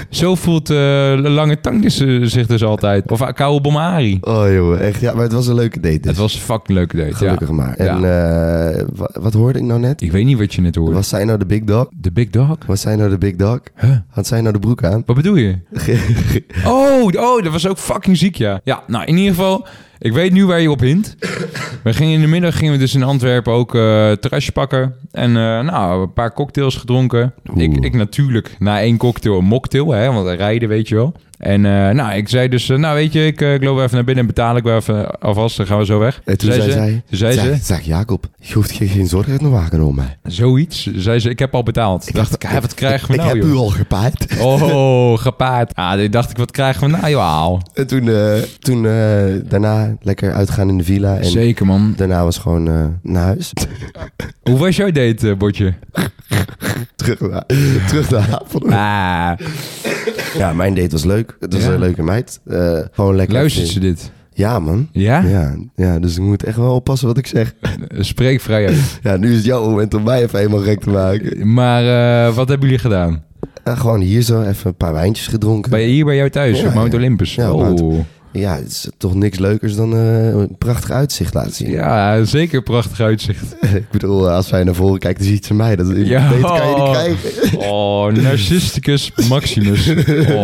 [SPEAKER 3] Zo voelt eh, Lange Tang dus, eh, zich dus altijd. Of Akau Bomari.
[SPEAKER 6] Oh jongen, echt. Ja, maar het was een leuke date dus.
[SPEAKER 3] Het was een fucking leuke date.
[SPEAKER 6] Gelukkig
[SPEAKER 3] ja.
[SPEAKER 6] maar. En
[SPEAKER 3] Ja.
[SPEAKER 6] eh, wa- wat, hoorde ik nou net?
[SPEAKER 3] Ik weet niet wat je net hoorde.
[SPEAKER 6] Was zij nou de big dog?
[SPEAKER 3] De Big Dog?
[SPEAKER 6] Was zij nou de big dog?
[SPEAKER 3] Huh?
[SPEAKER 6] Had zij nou de broek aan?
[SPEAKER 3] Wat bedoel je? Oh, oh, dat was ook fucking ziek, ja. Ja, nou, in ieder geval, ik weet nu waar je op hint. We gingen in de middag, gingen we dus in Antwerpen ook eh terrasje pakken. En eh, nou, een paar cocktails gedronken. Ik, ik natuurlijk, na één cocktail een mocktail, hè, want rijden, weet je wel. En eh, nou, ik zei dus, eh, nou weet je, ik, eh, ik loop even naar binnen en betaal ik wel even alvast, dan gaan we zo weg.
[SPEAKER 6] En Eh, toen zei zij...
[SPEAKER 3] toen zei
[SPEAKER 6] zeg,
[SPEAKER 3] ze,
[SPEAKER 6] zeg, Jacob, je hoeft geen, geen zorgen te maken om mij.
[SPEAKER 3] zoiets, zei ze, ik heb al betaald. Ik dacht, ik, hè, wat krijgen we
[SPEAKER 6] Ik
[SPEAKER 3] nou,
[SPEAKER 6] heb
[SPEAKER 3] joh?
[SPEAKER 6] u al gepaaid.
[SPEAKER 3] Oh, gepaard. Ah, dit dacht ik, wat krijgen we nou, joh? Au.
[SPEAKER 6] En toen, eh, toen eh, daarna lekker uitgaan in de villa. En
[SPEAKER 3] Zeker, man.
[SPEAKER 6] daarna was gewoon eh, naar huis.
[SPEAKER 3] Hoe was jouw date, eh, Botje?
[SPEAKER 6] terug naar, terug naar Apeldoorn.
[SPEAKER 3] Ah,
[SPEAKER 6] Ja, mijn date was leuk. Het was
[SPEAKER 3] Ja.
[SPEAKER 6] een leuke meid. Eh, gewoon lekker.
[SPEAKER 3] luistert
[SPEAKER 6] even-
[SPEAKER 3] ze dit?
[SPEAKER 6] Ja, man.
[SPEAKER 3] Ja? Eh,
[SPEAKER 6] ja? Ja, dus ik moet echt wel oppassen wat ik zeg.
[SPEAKER 3] Spreek vrij uit.
[SPEAKER 6] Ja, nu is het jouw moment om mij even helemaal gek te maken.
[SPEAKER 3] Maar eh, wat hebben jullie gedaan?
[SPEAKER 6] Ja, gewoon hier zo even een paar wijntjes gedronken.
[SPEAKER 3] Bij, hier bij jou thuis,
[SPEAKER 6] Ja,
[SPEAKER 3] op Mount
[SPEAKER 6] ja.
[SPEAKER 3] Olympus?
[SPEAKER 6] Ja, op Mount-
[SPEAKER 3] oh.
[SPEAKER 6] Ja, het is toch niks leukers dan eh, een prachtig uitzicht laten zien.
[SPEAKER 3] ja, zeker prachtig uitzicht.
[SPEAKER 6] Ik bedoel, eh, als zij naar voren kijkt, dan ziet ze mij. Dat,
[SPEAKER 3] Ja.
[SPEAKER 6] Beter kan je niet krijgen.
[SPEAKER 3] Oh, narcisticus maximus. Oh.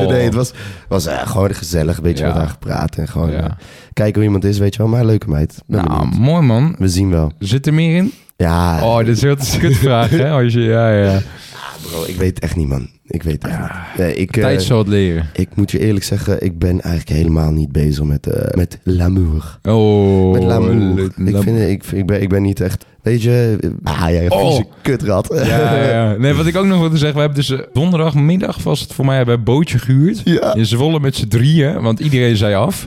[SPEAKER 6] Nee, het was, was eh, gewoon gezellig. Een beetje
[SPEAKER 3] Ja.
[SPEAKER 6] met haar gepraat. En gewoon
[SPEAKER 3] Ja.
[SPEAKER 6] eh, kijken hoe iemand is, weet je wel. Maar leuke meid. Ben
[SPEAKER 3] Nou,
[SPEAKER 6] benieuwd.
[SPEAKER 3] mooi man.
[SPEAKER 6] We zien wel.
[SPEAKER 3] Zit er meer in?
[SPEAKER 6] Ja,
[SPEAKER 3] Oh, dit is heel een kutvraag, hè? Als je, ja, ja.
[SPEAKER 6] bro, ik weet echt niet, man. Ik weet echt niet. Nee, ik, eh,
[SPEAKER 3] Tijd zal het leren.
[SPEAKER 6] ik moet je eerlijk zeggen, ik ben eigenlijk helemaal niet bezig met, eh, met l'amour.
[SPEAKER 3] Oh.
[SPEAKER 6] Met l'amour.
[SPEAKER 3] le-
[SPEAKER 6] ik,
[SPEAKER 3] la-
[SPEAKER 6] vind, ik, ik, ben, ik ben niet echt... Weet je... eh, Ah, jij
[SPEAKER 3] Oh.
[SPEAKER 6] vieze kutrat.
[SPEAKER 3] Ja, ja. Nee, wat ik ook nog wilde zeggen. We hebben dus eh, donderdagmiddag was het voor mij bij bootje gehuurd.
[SPEAKER 6] Ja.
[SPEAKER 3] In Zwolle met z'n drieën, want iedereen zei af.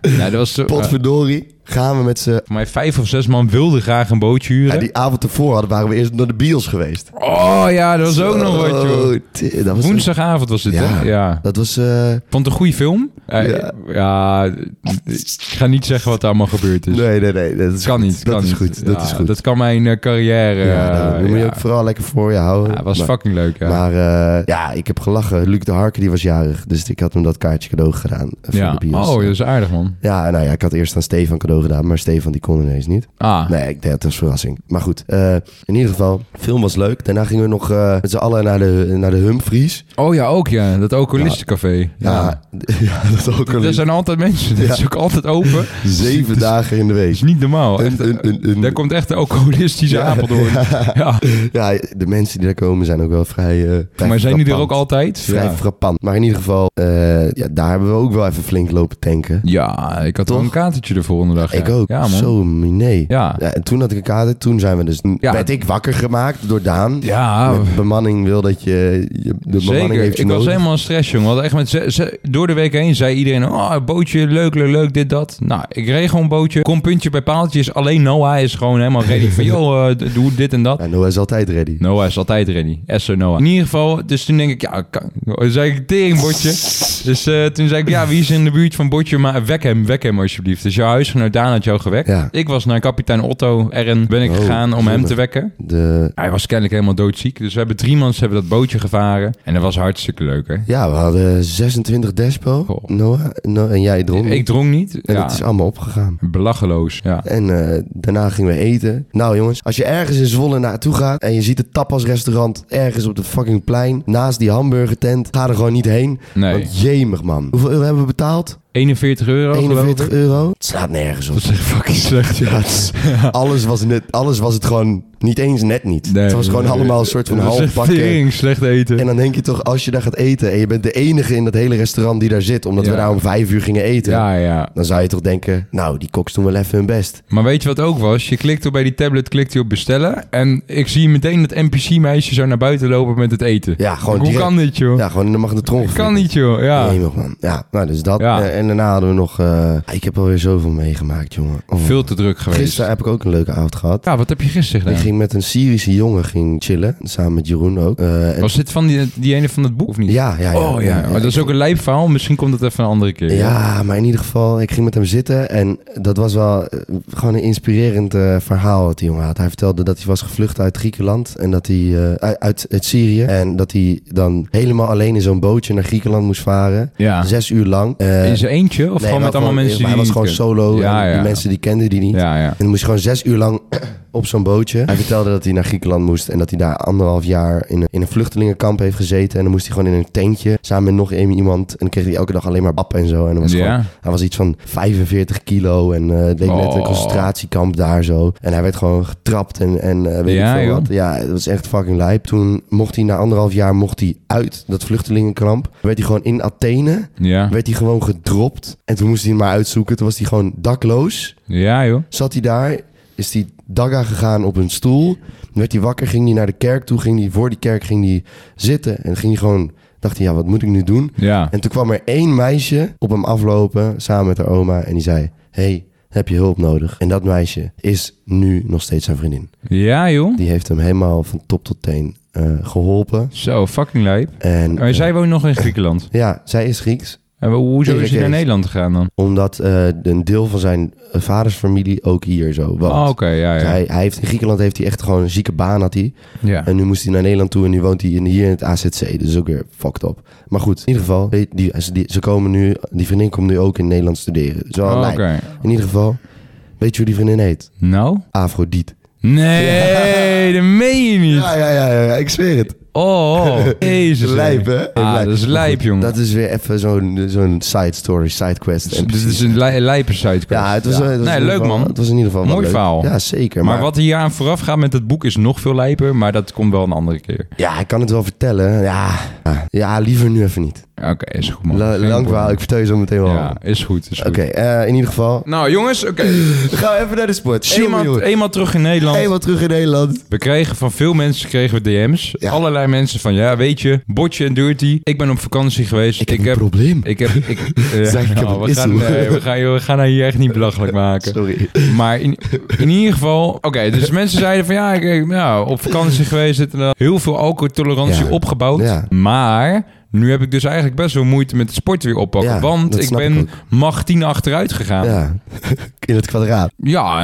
[SPEAKER 3] nou, dat was eh, eh,
[SPEAKER 6] Potverdorie. Gaan we met z'n...
[SPEAKER 3] voor mij vijf of zes man wilden graag een bootje huren.
[SPEAKER 6] Ja, die avond ervoor hadden, waren we eerst naar de bios geweest.
[SPEAKER 3] Oh ja, dat was ook nog wat, joh.
[SPEAKER 6] Oh, t- dat was
[SPEAKER 3] Woensdagavond was het,
[SPEAKER 6] Ja,
[SPEAKER 3] hè? Ja.
[SPEAKER 6] dat was... eh,
[SPEAKER 3] Vond het een goede film. Eh,
[SPEAKER 6] Ja.
[SPEAKER 3] ja. ik ga niet zeggen wat er allemaal gebeurd is.
[SPEAKER 6] nee, nee, nee. Dat is
[SPEAKER 3] Dat Dus- kan
[SPEAKER 6] goed.
[SPEAKER 3] niet.
[SPEAKER 6] Dat
[SPEAKER 3] kan
[SPEAKER 6] is
[SPEAKER 3] niet.
[SPEAKER 6] goed. Dat
[SPEAKER 3] Ja,
[SPEAKER 6] is goed.
[SPEAKER 3] Dat kan mijn eh, carrière...
[SPEAKER 6] Ja,
[SPEAKER 3] eh,
[SPEAKER 6] dat moet je
[SPEAKER 3] ja.
[SPEAKER 6] ook vooral lekker voor je houden.
[SPEAKER 3] Ja, het was
[SPEAKER 6] maar,
[SPEAKER 3] fucking leuk, ja.
[SPEAKER 6] Maar eh, ja, ik heb gelachen. Luc de Harker die was jarig, dus ik had hem dat kaartje cadeau gedaan. eh, Voor
[SPEAKER 3] ja.
[SPEAKER 6] de bios.
[SPEAKER 3] Oh, dat is aardig, man.
[SPEAKER 6] Ja, nou ja, ik had eerst aan Stefan cadeau gedaan, maar Stefan die kon ineens niet.
[SPEAKER 3] Ah.
[SPEAKER 6] Nee, ik deed het als verrassing. Maar goed, eh, in ieder geval, film was leuk. Daarna gingen we nog eh, met z'n allen naar de, naar de Humphries.
[SPEAKER 3] Oh ja, ook ja. Dat alcoholistencafé.
[SPEAKER 6] Ja, Ah, ja, dat is ook al
[SPEAKER 3] Er
[SPEAKER 6] eens
[SPEAKER 3] zijn altijd mensen. Het is ook altijd open.
[SPEAKER 6] zeven
[SPEAKER 3] Dus-
[SPEAKER 6] dagen in de
[SPEAKER 3] Dat is
[SPEAKER 6] week.
[SPEAKER 3] niet normaal. Echt,
[SPEAKER 6] Een- een- een- een-
[SPEAKER 3] daar komt echt de alcoholistische
[SPEAKER 6] Ja.
[SPEAKER 3] Apeldoorn. Ja.
[SPEAKER 6] Ja, de mensen die daar komen zijn ook wel vrij. eh, vrij
[SPEAKER 3] Maar zijn jullie er ook
[SPEAKER 6] frappant.
[SPEAKER 3] altijd?
[SPEAKER 6] Vrij
[SPEAKER 3] Ja.
[SPEAKER 6] frappant. Maar in ieder geval, eh, ja, daar hebben we ook wel even flink lopen tanken.
[SPEAKER 3] Ja, ik had wel
[SPEAKER 6] Toch?
[SPEAKER 3] een katertje de volgende dag.
[SPEAKER 6] Ik
[SPEAKER 3] ja.
[SPEAKER 6] ook.
[SPEAKER 3] Ja, man.
[SPEAKER 6] Zo, nee.
[SPEAKER 3] Ja.
[SPEAKER 6] en toen had ik een kader. Toen zijn we dus,
[SPEAKER 3] Ja.
[SPEAKER 6] werd ik wakker gemaakt door Daan.
[SPEAKER 3] Ja,
[SPEAKER 6] Met bemanning wil dat je, je- de bemanning
[SPEAKER 3] zeker.
[SPEAKER 6] heeft je
[SPEAKER 3] Ik was
[SPEAKER 6] nodig.
[SPEAKER 3] helemaal in stress, jongen. Want echt met ze- ze- door de week heen zei iedereen... Oh, bootje, leuk, leuk, leuk, dit, dat. Nou, ik reed gewoon bootje. Kom puntje bij paaltjes. Alleen Noah is gewoon helemaal ready van... joh, eh, d- doe dit en dat.
[SPEAKER 6] Ja, Noah is altijd ready.
[SPEAKER 3] Noah is altijd ready. SO Noah. In ieder geval, dus toen denk ik, ja, kan, toen zei ik teringbotje. Dus eh, toen zei ik, ja, wie is in de buurt van Botje? Maar wek hem, wek hem alsjeblieft. Dus jouw huisgenoot Daan had jou gewekt.
[SPEAKER 6] Ja.
[SPEAKER 3] Ik was naar kapitein Otto RN ben ik
[SPEAKER 6] Oh,
[SPEAKER 3] gegaan om hem
[SPEAKER 6] zonde.
[SPEAKER 3] te wekken.
[SPEAKER 6] De,
[SPEAKER 3] Hij was kennelijk helemaal doodziek. Dus we hebben drie mans hebben dat bootje gevaren. En dat was hartstikke leuk, hè?
[SPEAKER 6] ja, we hadden 26 despo.
[SPEAKER 3] Goh.
[SPEAKER 6] Noah, No- en jij dronk.
[SPEAKER 3] Ik drong niet.
[SPEAKER 6] en
[SPEAKER 3] Ja.
[SPEAKER 6] het is allemaal opgegaan.
[SPEAKER 3] Belachelijk. Ja.
[SPEAKER 6] En eh, daarna gingen we eten. Nou jongens, als je ergens in Zwolle naartoe gaat en je ziet het tapasrestaurant ergens op de fucking plein naast die hamburgertent, ga er gewoon niet heen.
[SPEAKER 3] Nee.
[SPEAKER 6] Want jemig man. Hoeveel euro hebben we betaald?
[SPEAKER 3] 41 euro, geloof
[SPEAKER 6] 41
[SPEAKER 3] ik.
[SPEAKER 6] euro? Het slaat nergens op.
[SPEAKER 3] Dat is echt fucking slecht, ja.
[SPEAKER 6] Ja, het is- alles, was net, alles was het gewoon niet eens net niet.
[SPEAKER 3] Nee.
[SPEAKER 6] het was gewoon allemaal een soort van
[SPEAKER 3] Dat is
[SPEAKER 6] half
[SPEAKER 3] echt
[SPEAKER 6] pakken.
[SPEAKER 3] tering slecht eten.
[SPEAKER 6] En dan denk je toch, als je daar gaat eten en je bent de enige in dat hele restaurant die daar zit, omdat we
[SPEAKER 3] Ja.
[SPEAKER 6] daar om vijf uur gingen eten,
[SPEAKER 3] ja, ja.
[SPEAKER 6] dan zou je toch denken, nou, die koks doen wel even hun best.
[SPEAKER 3] Maar weet je wat ook was? Je klikt op bij die tablet, klikt hij op bestellen. En ik zie meteen dat NPC-meisje zo naar buiten lopen met het eten.
[SPEAKER 6] Ja, gewoon
[SPEAKER 3] Hoe
[SPEAKER 6] direct.
[SPEAKER 3] kan dit, joh?
[SPEAKER 6] Ja, gewoon in de magnetron.
[SPEAKER 3] kan niet, joh. Ja.
[SPEAKER 6] Nee, man. Ja, nou, dus dat.
[SPEAKER 3] Ja.
[SPEAKER 6] Eh, en daarna hadden we nog... eh, ik heb alweer zoveel meegemaakt, jongen. Oh.
[SPEAKER 3] Veel te druk geweest.
[SPEAKER 6] Gisteren heb ik ook een leuke avond gehad.
[SPEAKER 3] Ja, wat heb je gisteren
[SPEAKER 6] Ik
[SPEAKER 3] gedaan?
[SPEAKER 6] ging met een Syrische jongen ging chillen, samen met Jeroen ook. Eh, en-
[SPEAKER 3] Was dit van die, die ene van het boek of niet?
[SPEAKER 6] ja, ja, ja.
[SPEAKER 3] Oh ja, maar dat is ook een lijp verhaal. Misschien komt het even een andere keer.
[SPEAKER 6] Ja, maar in ieder geval, ik ging met hem zitten en dat was wel eh, gewoon een inspirerend eh, verhaal wat die jongen had. Hij vertelde dat hij was gevlucht uit Griekenland en dat hij eh, uit, uit, uit Syrië en dat hij dan helemaal alleen in zo'n bootje naar Griekenland moest varen.
[SPEAKER 3] Ja.
[SPEAKER 6] Zes uur lang. Eh,
[SPEAKER 3] In zijn eentje of
[SPEAKER 6] nee,
[SPEAKER 3] gewoon
[SPEAKER 6] wel
[SPEAKER 3] met allemaal mensen die
[SPEAKER 6] Hij was
[SPEAKER 3] die
[SPEAKER 6] gewoon
[SPEAKER 3] niet kennen?
[SPEAKER 6] solo.
[SPEAKER 3] Ja,
[SPEAKER 6] en
[SPEAKER 3] ja.
[SPEAKER 6] Die mensen die kenden die niet.
[SPEAKER 3] Ja, ja.
[SPEAKER 6] En dan moest je gewoon zes uur lang op zo'n bootje. Hij vertelde dat hij naar Griekenland moest en dat hij daar anderhalf jaar in een, in een vluchtelingenkamp heeft gezeten. En dan moest hij gewoon in een tentje samen met nog één iemand. En dan kreeg hij elke dag alleen maar bap en zo. En dan was
[SPEAKER 3] Ja.
[SPEAKER 6] gewoon, hij was iets van 45 kilo en eh deed net een
[SPEAKER 3] Oh.
[SPEAKER 6] concentratiekamp daar zo. En hij werd gewoon getrapt en, en eh, weet
[SPEAKER 3] Ja,
[SPEAKER 6] ik veel
[SPEAKER 3] joh.
[SPEAKER 6] wat. Ja, dat was echt fucking lijp. Toen mocht hij na anderhalf jaar mocht hij uit dat vluchtelingenkamp. Werd hij gewoon in Athene.
[SPEAKER 3] Ja.
[SPEAKER 6] Werd hij gewoon gedropt. En toen moest hij hem maar uitzoeken. Toen was hij gewoon dakloos
[SPEAKER 3] ja, joh.
[SPEAKER 6] zat hij daar, is hij dagga gegaan op een stoel. Dan werd hij wakker, ging hij naar de kerk toe, ging hij voor die kerk ging hij zitten. En ging hij gewoon, dacht hij, ja, wat moet ik nu doen?
[SPEAKER 3] Ja.
[SPEAKER 6] En toen kwam er één meisje op hem aflopen, samen met haar oma. En die zei, hey, heb je hulp nodig? En dat meisje is nu nog steeds zijn vriendin.
[SPEAKER 3] Ja, joh.
[SPEAKER 6] Die heeft hem helemaal van top tot teen eh, geholpen.
[SPEAKER 3] Zo, fucking lijp.
[SPEAKER 6] En
[SPEAKER 3] Maar
[SPEAKER 6] eh,
[SPEAKER 3] zij woont nog in Griekenland.
[SPEAKER 6] ja, zij is Grieks.
[SPEAKER 3] En ho- hoezo
[SPEAKER 6] Tegen
[SPEAKER 3] is hij naar
[SPEAKER 6] Kees.
[SPEAKER 3] Nederland gegaan dan?
[SPEAKER 6] Omdat eh, een deel van zijn eh, vadersfamilie ook hier zo woont.
[SPEAKER 3] Oh, oké, ja,
[SPEAKER 6] Dus
[SPEAKER 3] ja.
[SPEAKER 6] hij, hij heeft, in Griekenland heeft hij echt gewoon een zieke baan had hij.
[SPEAKER 3] ja.
[SPEAKER 6] En nu moest hij naar Nederland toe en nu woont hij in, hier in het AZC. Dus ook weer fucked up. Maar goed, in ieder geval, die, die- ze- die- ze komen nu, die vriendin komt nu ook in Nederland studeren. Zo
[SPEAKER 3] Oh,
[SPEAKER 6] wel
[SPEAKER 3] oké.
[SPEAKER 6] lijp. In ieder geval, weet je hoe die vriendin heet?
[SPEAKER 3] Nou?
[SPEAKER 6] Afrodiet.
[SPEAKER 3] Nee, dat meen je niet.
[SPEAKER 6] Ja, ja, ja, ja, ik zweer het.
[SPEAKER 3] Oh, jezus.
[SPEAKER 6] Lijp, hè?
[SPEAKER 3] Ah,
[SPEAKER 6] Lijp.
[SPEAKER 3] dat is
[SPEAKER 6] Maar
[SPEAKER 3] lijp,
[SPEAKER 6] goed,
[SPEAKER 3] jongen.
[SPEAKER 6] Dat is weer even zo'n zo'n side story, side quest. En
[SPEAKER 3] Dit Dus is een li lijpersite.
[SPEAKER 6] ja, het was, eh, het was in
[SPEAKER 3] nee,
[SPEAKER 6] ieder
[SPEAKER 3] leuk
[SPEAKER 6] geval-
[SPEAKER 3] man.
[SPEAKER 6] Het was in ieder geval wel
[SPEAKER 3] Mooi
[SPEAKER 6] leuk.
[SPEAKER 3] verhaal.
[SPEAKER 6] Ja, zeker.
[SPEAKER 3] maar, wat hier aan vooraf gaat met het boek is nog veel lijper, maar dat komt wel een andere keer.
[SPEAKER 6] Ja, ik kan het wel vertellen. Ja, ja liever nu even niet.
[SPEAKER 3] Oké, is goed man.
[SPEAKER 6] La-
[SPEAKER 3] Oh, Geen
[SPEAKER 6] lang verhaal, ik
[SPEAKER 3] probleem.
[SPEAKER 6] vertel je zo meteen wel.
[SPEAKER 3] Ja, is goed, is goed.
[SPEAKER 6] Oké, eh, in ieder geval.
[SPEAKER 3] Nou jongens, oké.
[SPEAKER 6] We gaan even naar de sport. Jongen,
[SPEAKER 3] Eenmaal,
[SPEAKER 6] jongen.
[SPEAKER 3] eenmaal terug in Nederland.
[SPEAKER 6] Eenmaal terug in Nederland.
[SPEAKER 3] We kregen van veel mensen kregen we DM's.
[SPEAKER 6] Ja.
[SPEAKER 3] Allerlei mensen van ja, weet je, botje en dirty. Ik ben op vakantie geweest.
[SPEAKER 6] probleem.
[SPEAKER 3] Ik heb. Ik, eh,
[SPEAKER 6] Zeg, ik heb
[SPEAKER 3] nou,
[SPEAKER 6] een
[SPEAKER 3] we, gaan,
[SPEAKER 6] issue.
[SPEAKER 3] nee, we, gaan, joh, we gaan haar hier echt niet belachelijk maken.
[SPEAKER 6] Sorry.
[SPEAKER 3] Maar in, in ieder geval. Oké, dus mensen zeiden van ja, ik, ik- nou, op vakantie geweest. Dit en dat. heel veel alcoholtolerantie
[SPEAKER 6] Ja.
[SPEAKER 3] opgebouwd.
[SPEAKER 6] Ja.
[SPEAKER 3] Maar nu heb ik dus eigenlijk best wel moeite met het sport weer oppakken.
[SPEAKER 6] Ja,
[SPEAKER 3] want
[SPEAKER 6] dat
[SPEAKER 3] ik
[SPEAKER 6] snap
[SPEAKER 3] ben
[SPEAKER 6] ik
[SPEAKER 3] mag tien achteruit gegaan. Ja,
[SPEAKER 6] Ja, in het kwadraat.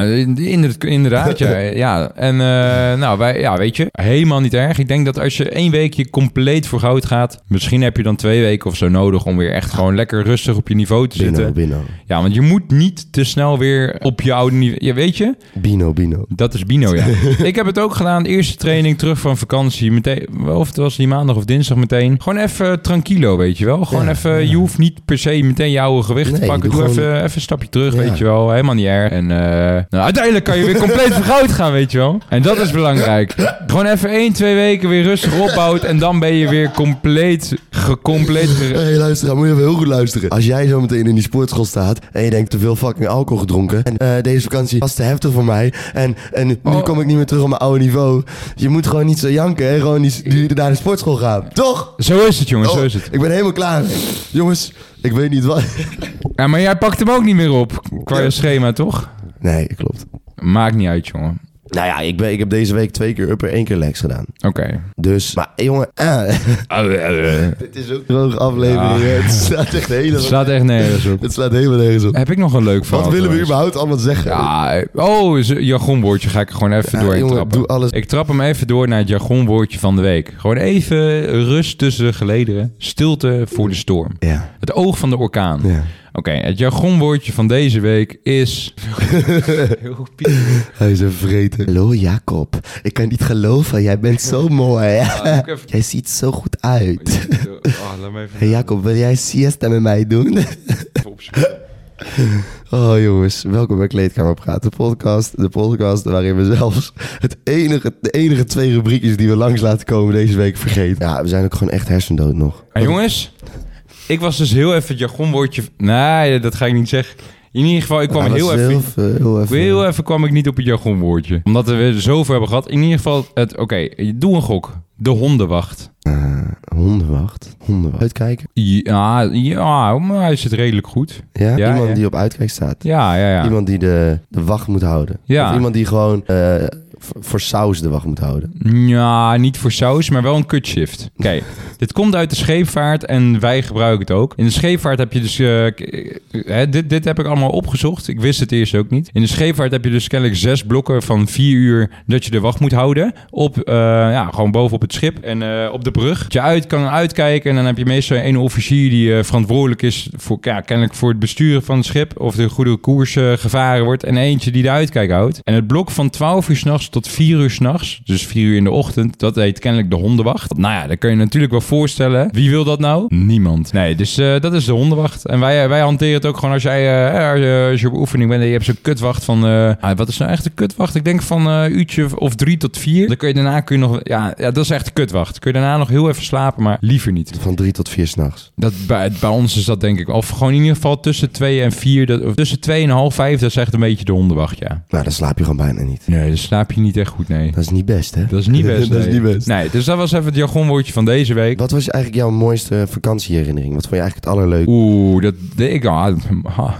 [SPEAKER 3] in- in- inderdaad. ja, ja. En eh, nou, wij, ja, weet je, helemaal niet erg. Ik denk dat als je één weekje compleet voor goud gaat, misschien heb je dan twee weken of zo nodig om weer echt gewoon lekker rustig op je niveau te
[SPEAKER 6] Bino,
[SPEAKER 3] zitten.
[SPEAKER 6] Bino.
[SPEAKER 3] Ja, want je moet niet te snel weer op je oude niveau. Ja, weet je,
[SPEAKER 6] Bino, Bino.
[SPEAKER 3] dat is Bino, ja. ik heb het ook gedaan. Eerste training terug van vakantie. Meteen, of het was die maandag of dinsdag meteen. Gewoon even tranquilo, weet je wel. Gewoon
[SPEAKER 6] Ja,
[SPEAKER 3] even, je hoeft niet per se meteen je oude gewicht te
[SPEAKER 6] Nee,
[SPEAKER 3] pakken. Doe,
[SPEAKER 6] doe gewoon-
[SPEAKER 3] even, even een stapje terug,
[SPEAKER 6] Ja.
[SPEAKER 3] weet je wel. Helemaal niet erg. En eh, nou, uiteindelijk kan je weer compleet vergoud gaan, weet je wel. En dat is belangrijk. Gewoon even één, twee weken weer rustig opbouwt. En dan ben je weer compleet, gecompleet...
[SPEAKER 6] Hé, hey, luister, moet je even heel goed luisteren. Als jij zo meteen in die sportschool staat en je denkt te veel fucking alcohol gedronken. En eh, deze vakantie was te heftig voor mij. En, en nu
[SPEAKER 3] Oh.
[SPEAKER 6] kom ik niet meer terug op mijn oude niveau. Je moet gewoon niet zo janken en gewoon niet duurder naar de sportschool gaan. Toch? Oh,
[SPEAKER 3] Zo is het, jongens, zo is het.
[SPEAKER 6] Ik ben helemaal klaar. Jongens, ik weet niet wat.
[SPEAKER 3] Ja, maar jij pakt hem ook niet meer op qua je schema, toch?
[SPEAKER 6] Nee, klopt.
[SPEAKER 3] Maakt niet uit, jongen.
[SPEAKER 6] Nou ja, ik, ben, ik heb deze week twee keer upper, één keer legs gedaan.
[SPEAKER 3] Oké.
[SPEAKER 6] Dus, maar jongen, eh, dit is ook droge aflevering. hè. Het slaat echt
[SPEAKER 3] Het
[SPEAKER 6] helemaal,
[SPEAKER 3] slaat echt nergens op.
[SPEAKER 6] het slaat helemaal nergens op.
[SPEAKER 3] Heb ik nog een leuk verhaal?
[SPEAKER 6] Wat willen we
[SPEAKER 3] trouwens?
[SPEAKER 6] überhaupt allemaal zeggen?
[SPEAKER 3] Ja, eh, oh, is een jargonwoordje ga ik er gewoon even
[SPEAKER 6] Ja,
[SPEAKER 3] doorheen
[SPEAKER 6] jongen,
[SPEAKER 3] trappen.
[SPEAKER 6] doe alles.
[SPEAKER 3] Ik trap hem even door naar het jargonwoordje van de week. Gewoon even rust tussen de gelederen. Stilte voor de storm.
[SPEAKER 6] Ja.
[SPEAKER 3] Het oog van de orkaan.
[SPEAKER 6] Ja.
[SPEAKER 3] Oké, het jargonwoordje van deze week is...
[SPEAKER 6] Hij is een vreten. Hallo Jacob, ik kan niet geloven, jij bent zo mooi.
[SPEAKER 3] ik even-
[SPEAKER 6] Jij ziet zo goed uit.
[SPEAKER 3] Oh, laat me even
[SPEAKER 6] Hey Jacob, wil jij siesta met mij doen?
[SPEAKER 3] opzoeken.
[SPEAKER 6] Oh jongens, welkom bij Kleedkamer Praten de podcast. De podcast waarin we zelfs het enige, de enige twee rubriekjes die we langs laten komen deze week vergeten. Ja, we zijn ook gewoon echt hersendood nog.
[SPEAKER 3] En jongens, ik was dus heel even het jargonwoordje... Nee, dat ga ik niet zeggen. In ieder geval, ik kwam
[SPEAKER 6] Ja, dat
[SPEAKER 3] heel
[SPEAKER 6] is
[SPEAKER 3] even...
[SPEAKER 6] Heel, heel even.
[SPEAKER 3] Heel even kwam ik niet op het jargonwoordje. Omdat we er zoveel hebben gehad. In ieder geval, het, oké, doe een gok. De hondenwacht.
[SPEAKER 1] Eh, hondenwacht. Hondenwacht. Uitkijken.
[SPEAKER 3] Ja, ja, maar hij zit redelijk goed.
[SPEAKER 1] Ja,
[SPEAKER 3] Ja,
[SPEAKER 1] iemand
[SPEAKER 3] ja.
[SPEAKER 1] die op uitkijk staat.
[SPEAKER 3] Ja, ja, ja.
[SPEAKER 1] Iemand die de, de wacht moet houden.
[SPEAKER 3] Ja.
[SPEAKER 1] Of iemand die gewoon eh, voor, voor saus de wacht moet houden.
[SPEAKER 3] Ja, niet voor saus, maar wel een kutshift. Kijk, dit komt uit de scheepvaart en wij gebruiken het ook. In de scheepvaart heb je dus... eh, k- eh, hè, dit, dit heb ik allemaal opgezocht. Ik wist het eerst ook niet. In de scheepvaart heb je dus kennelijk zes blokken van vier uur dat je de wacht moet houden. Op, eh, ja, gewoon bovenop het schip en eh, op de brug. Dat je uit kan uitkijken en dan heb je meestal één officier die eh, verantwoordelijk is voor, ja, kennelijk voor het besturen van het schip. Of de goede koers eh, gevaren wordt. En eentje die de uitkijk houdt. En het blok van 12 uur s'nachts tot 4 uur s'nachts, dus 4 uur in de ochtend, dat heet kennelijk de hondenwacht. Nou ja, dat kun je natuurlijk wel voorstellen. Wie wil dat nou? Niemand. Nee, dus eh, dat is de hondenwacht. En wij, wij hanteren het ook gewoon als jij eh, als je- als je op oefening bent en je hebt zo'n kutwacht van, eh, ah, wat is nou echt een kutwacht? Ik denk van eh uurtje of drie tot vier. Dan kun je daarna kun je nog, ja, ja, dat is echt een kutwacht. Kun je daarna nog heel even slapen, maar liever niet.
[SPEAKER 1] Van drie tot vier s'nachts.
[SPEAKER 3] Dat, bij, bij ons is dat denk ik, of gewoon in ieder geval tussen 2 en 4, dat, of tussen 2 en half 5, dat is echt een beetje de hondenwacht, ja.
[SPEAKER 1] Nou, dan slaap je gewoon bijna niet.
[SPEAKER 3] Nee, dan slaap je niet echt goed, nee.
[SPEAKER 1] Dat is niet best, hè?
[SPEAKER 3] Dat is niet best.
[SPEAKER 1] dat is
[SPEAKER 3] nee.
[SPEAKER 1] niet best.
[SPEAKER 3] Nee, dus dat was even het jargonwoordje van deze week.
[SPEAKER 1] Wat was eigenlijk jouw mooiste vakantieherinnering? Wat vond je eigenlijk het allerleukste?
[SPEAKER 3] Oeh, dat deed ik al. Ah,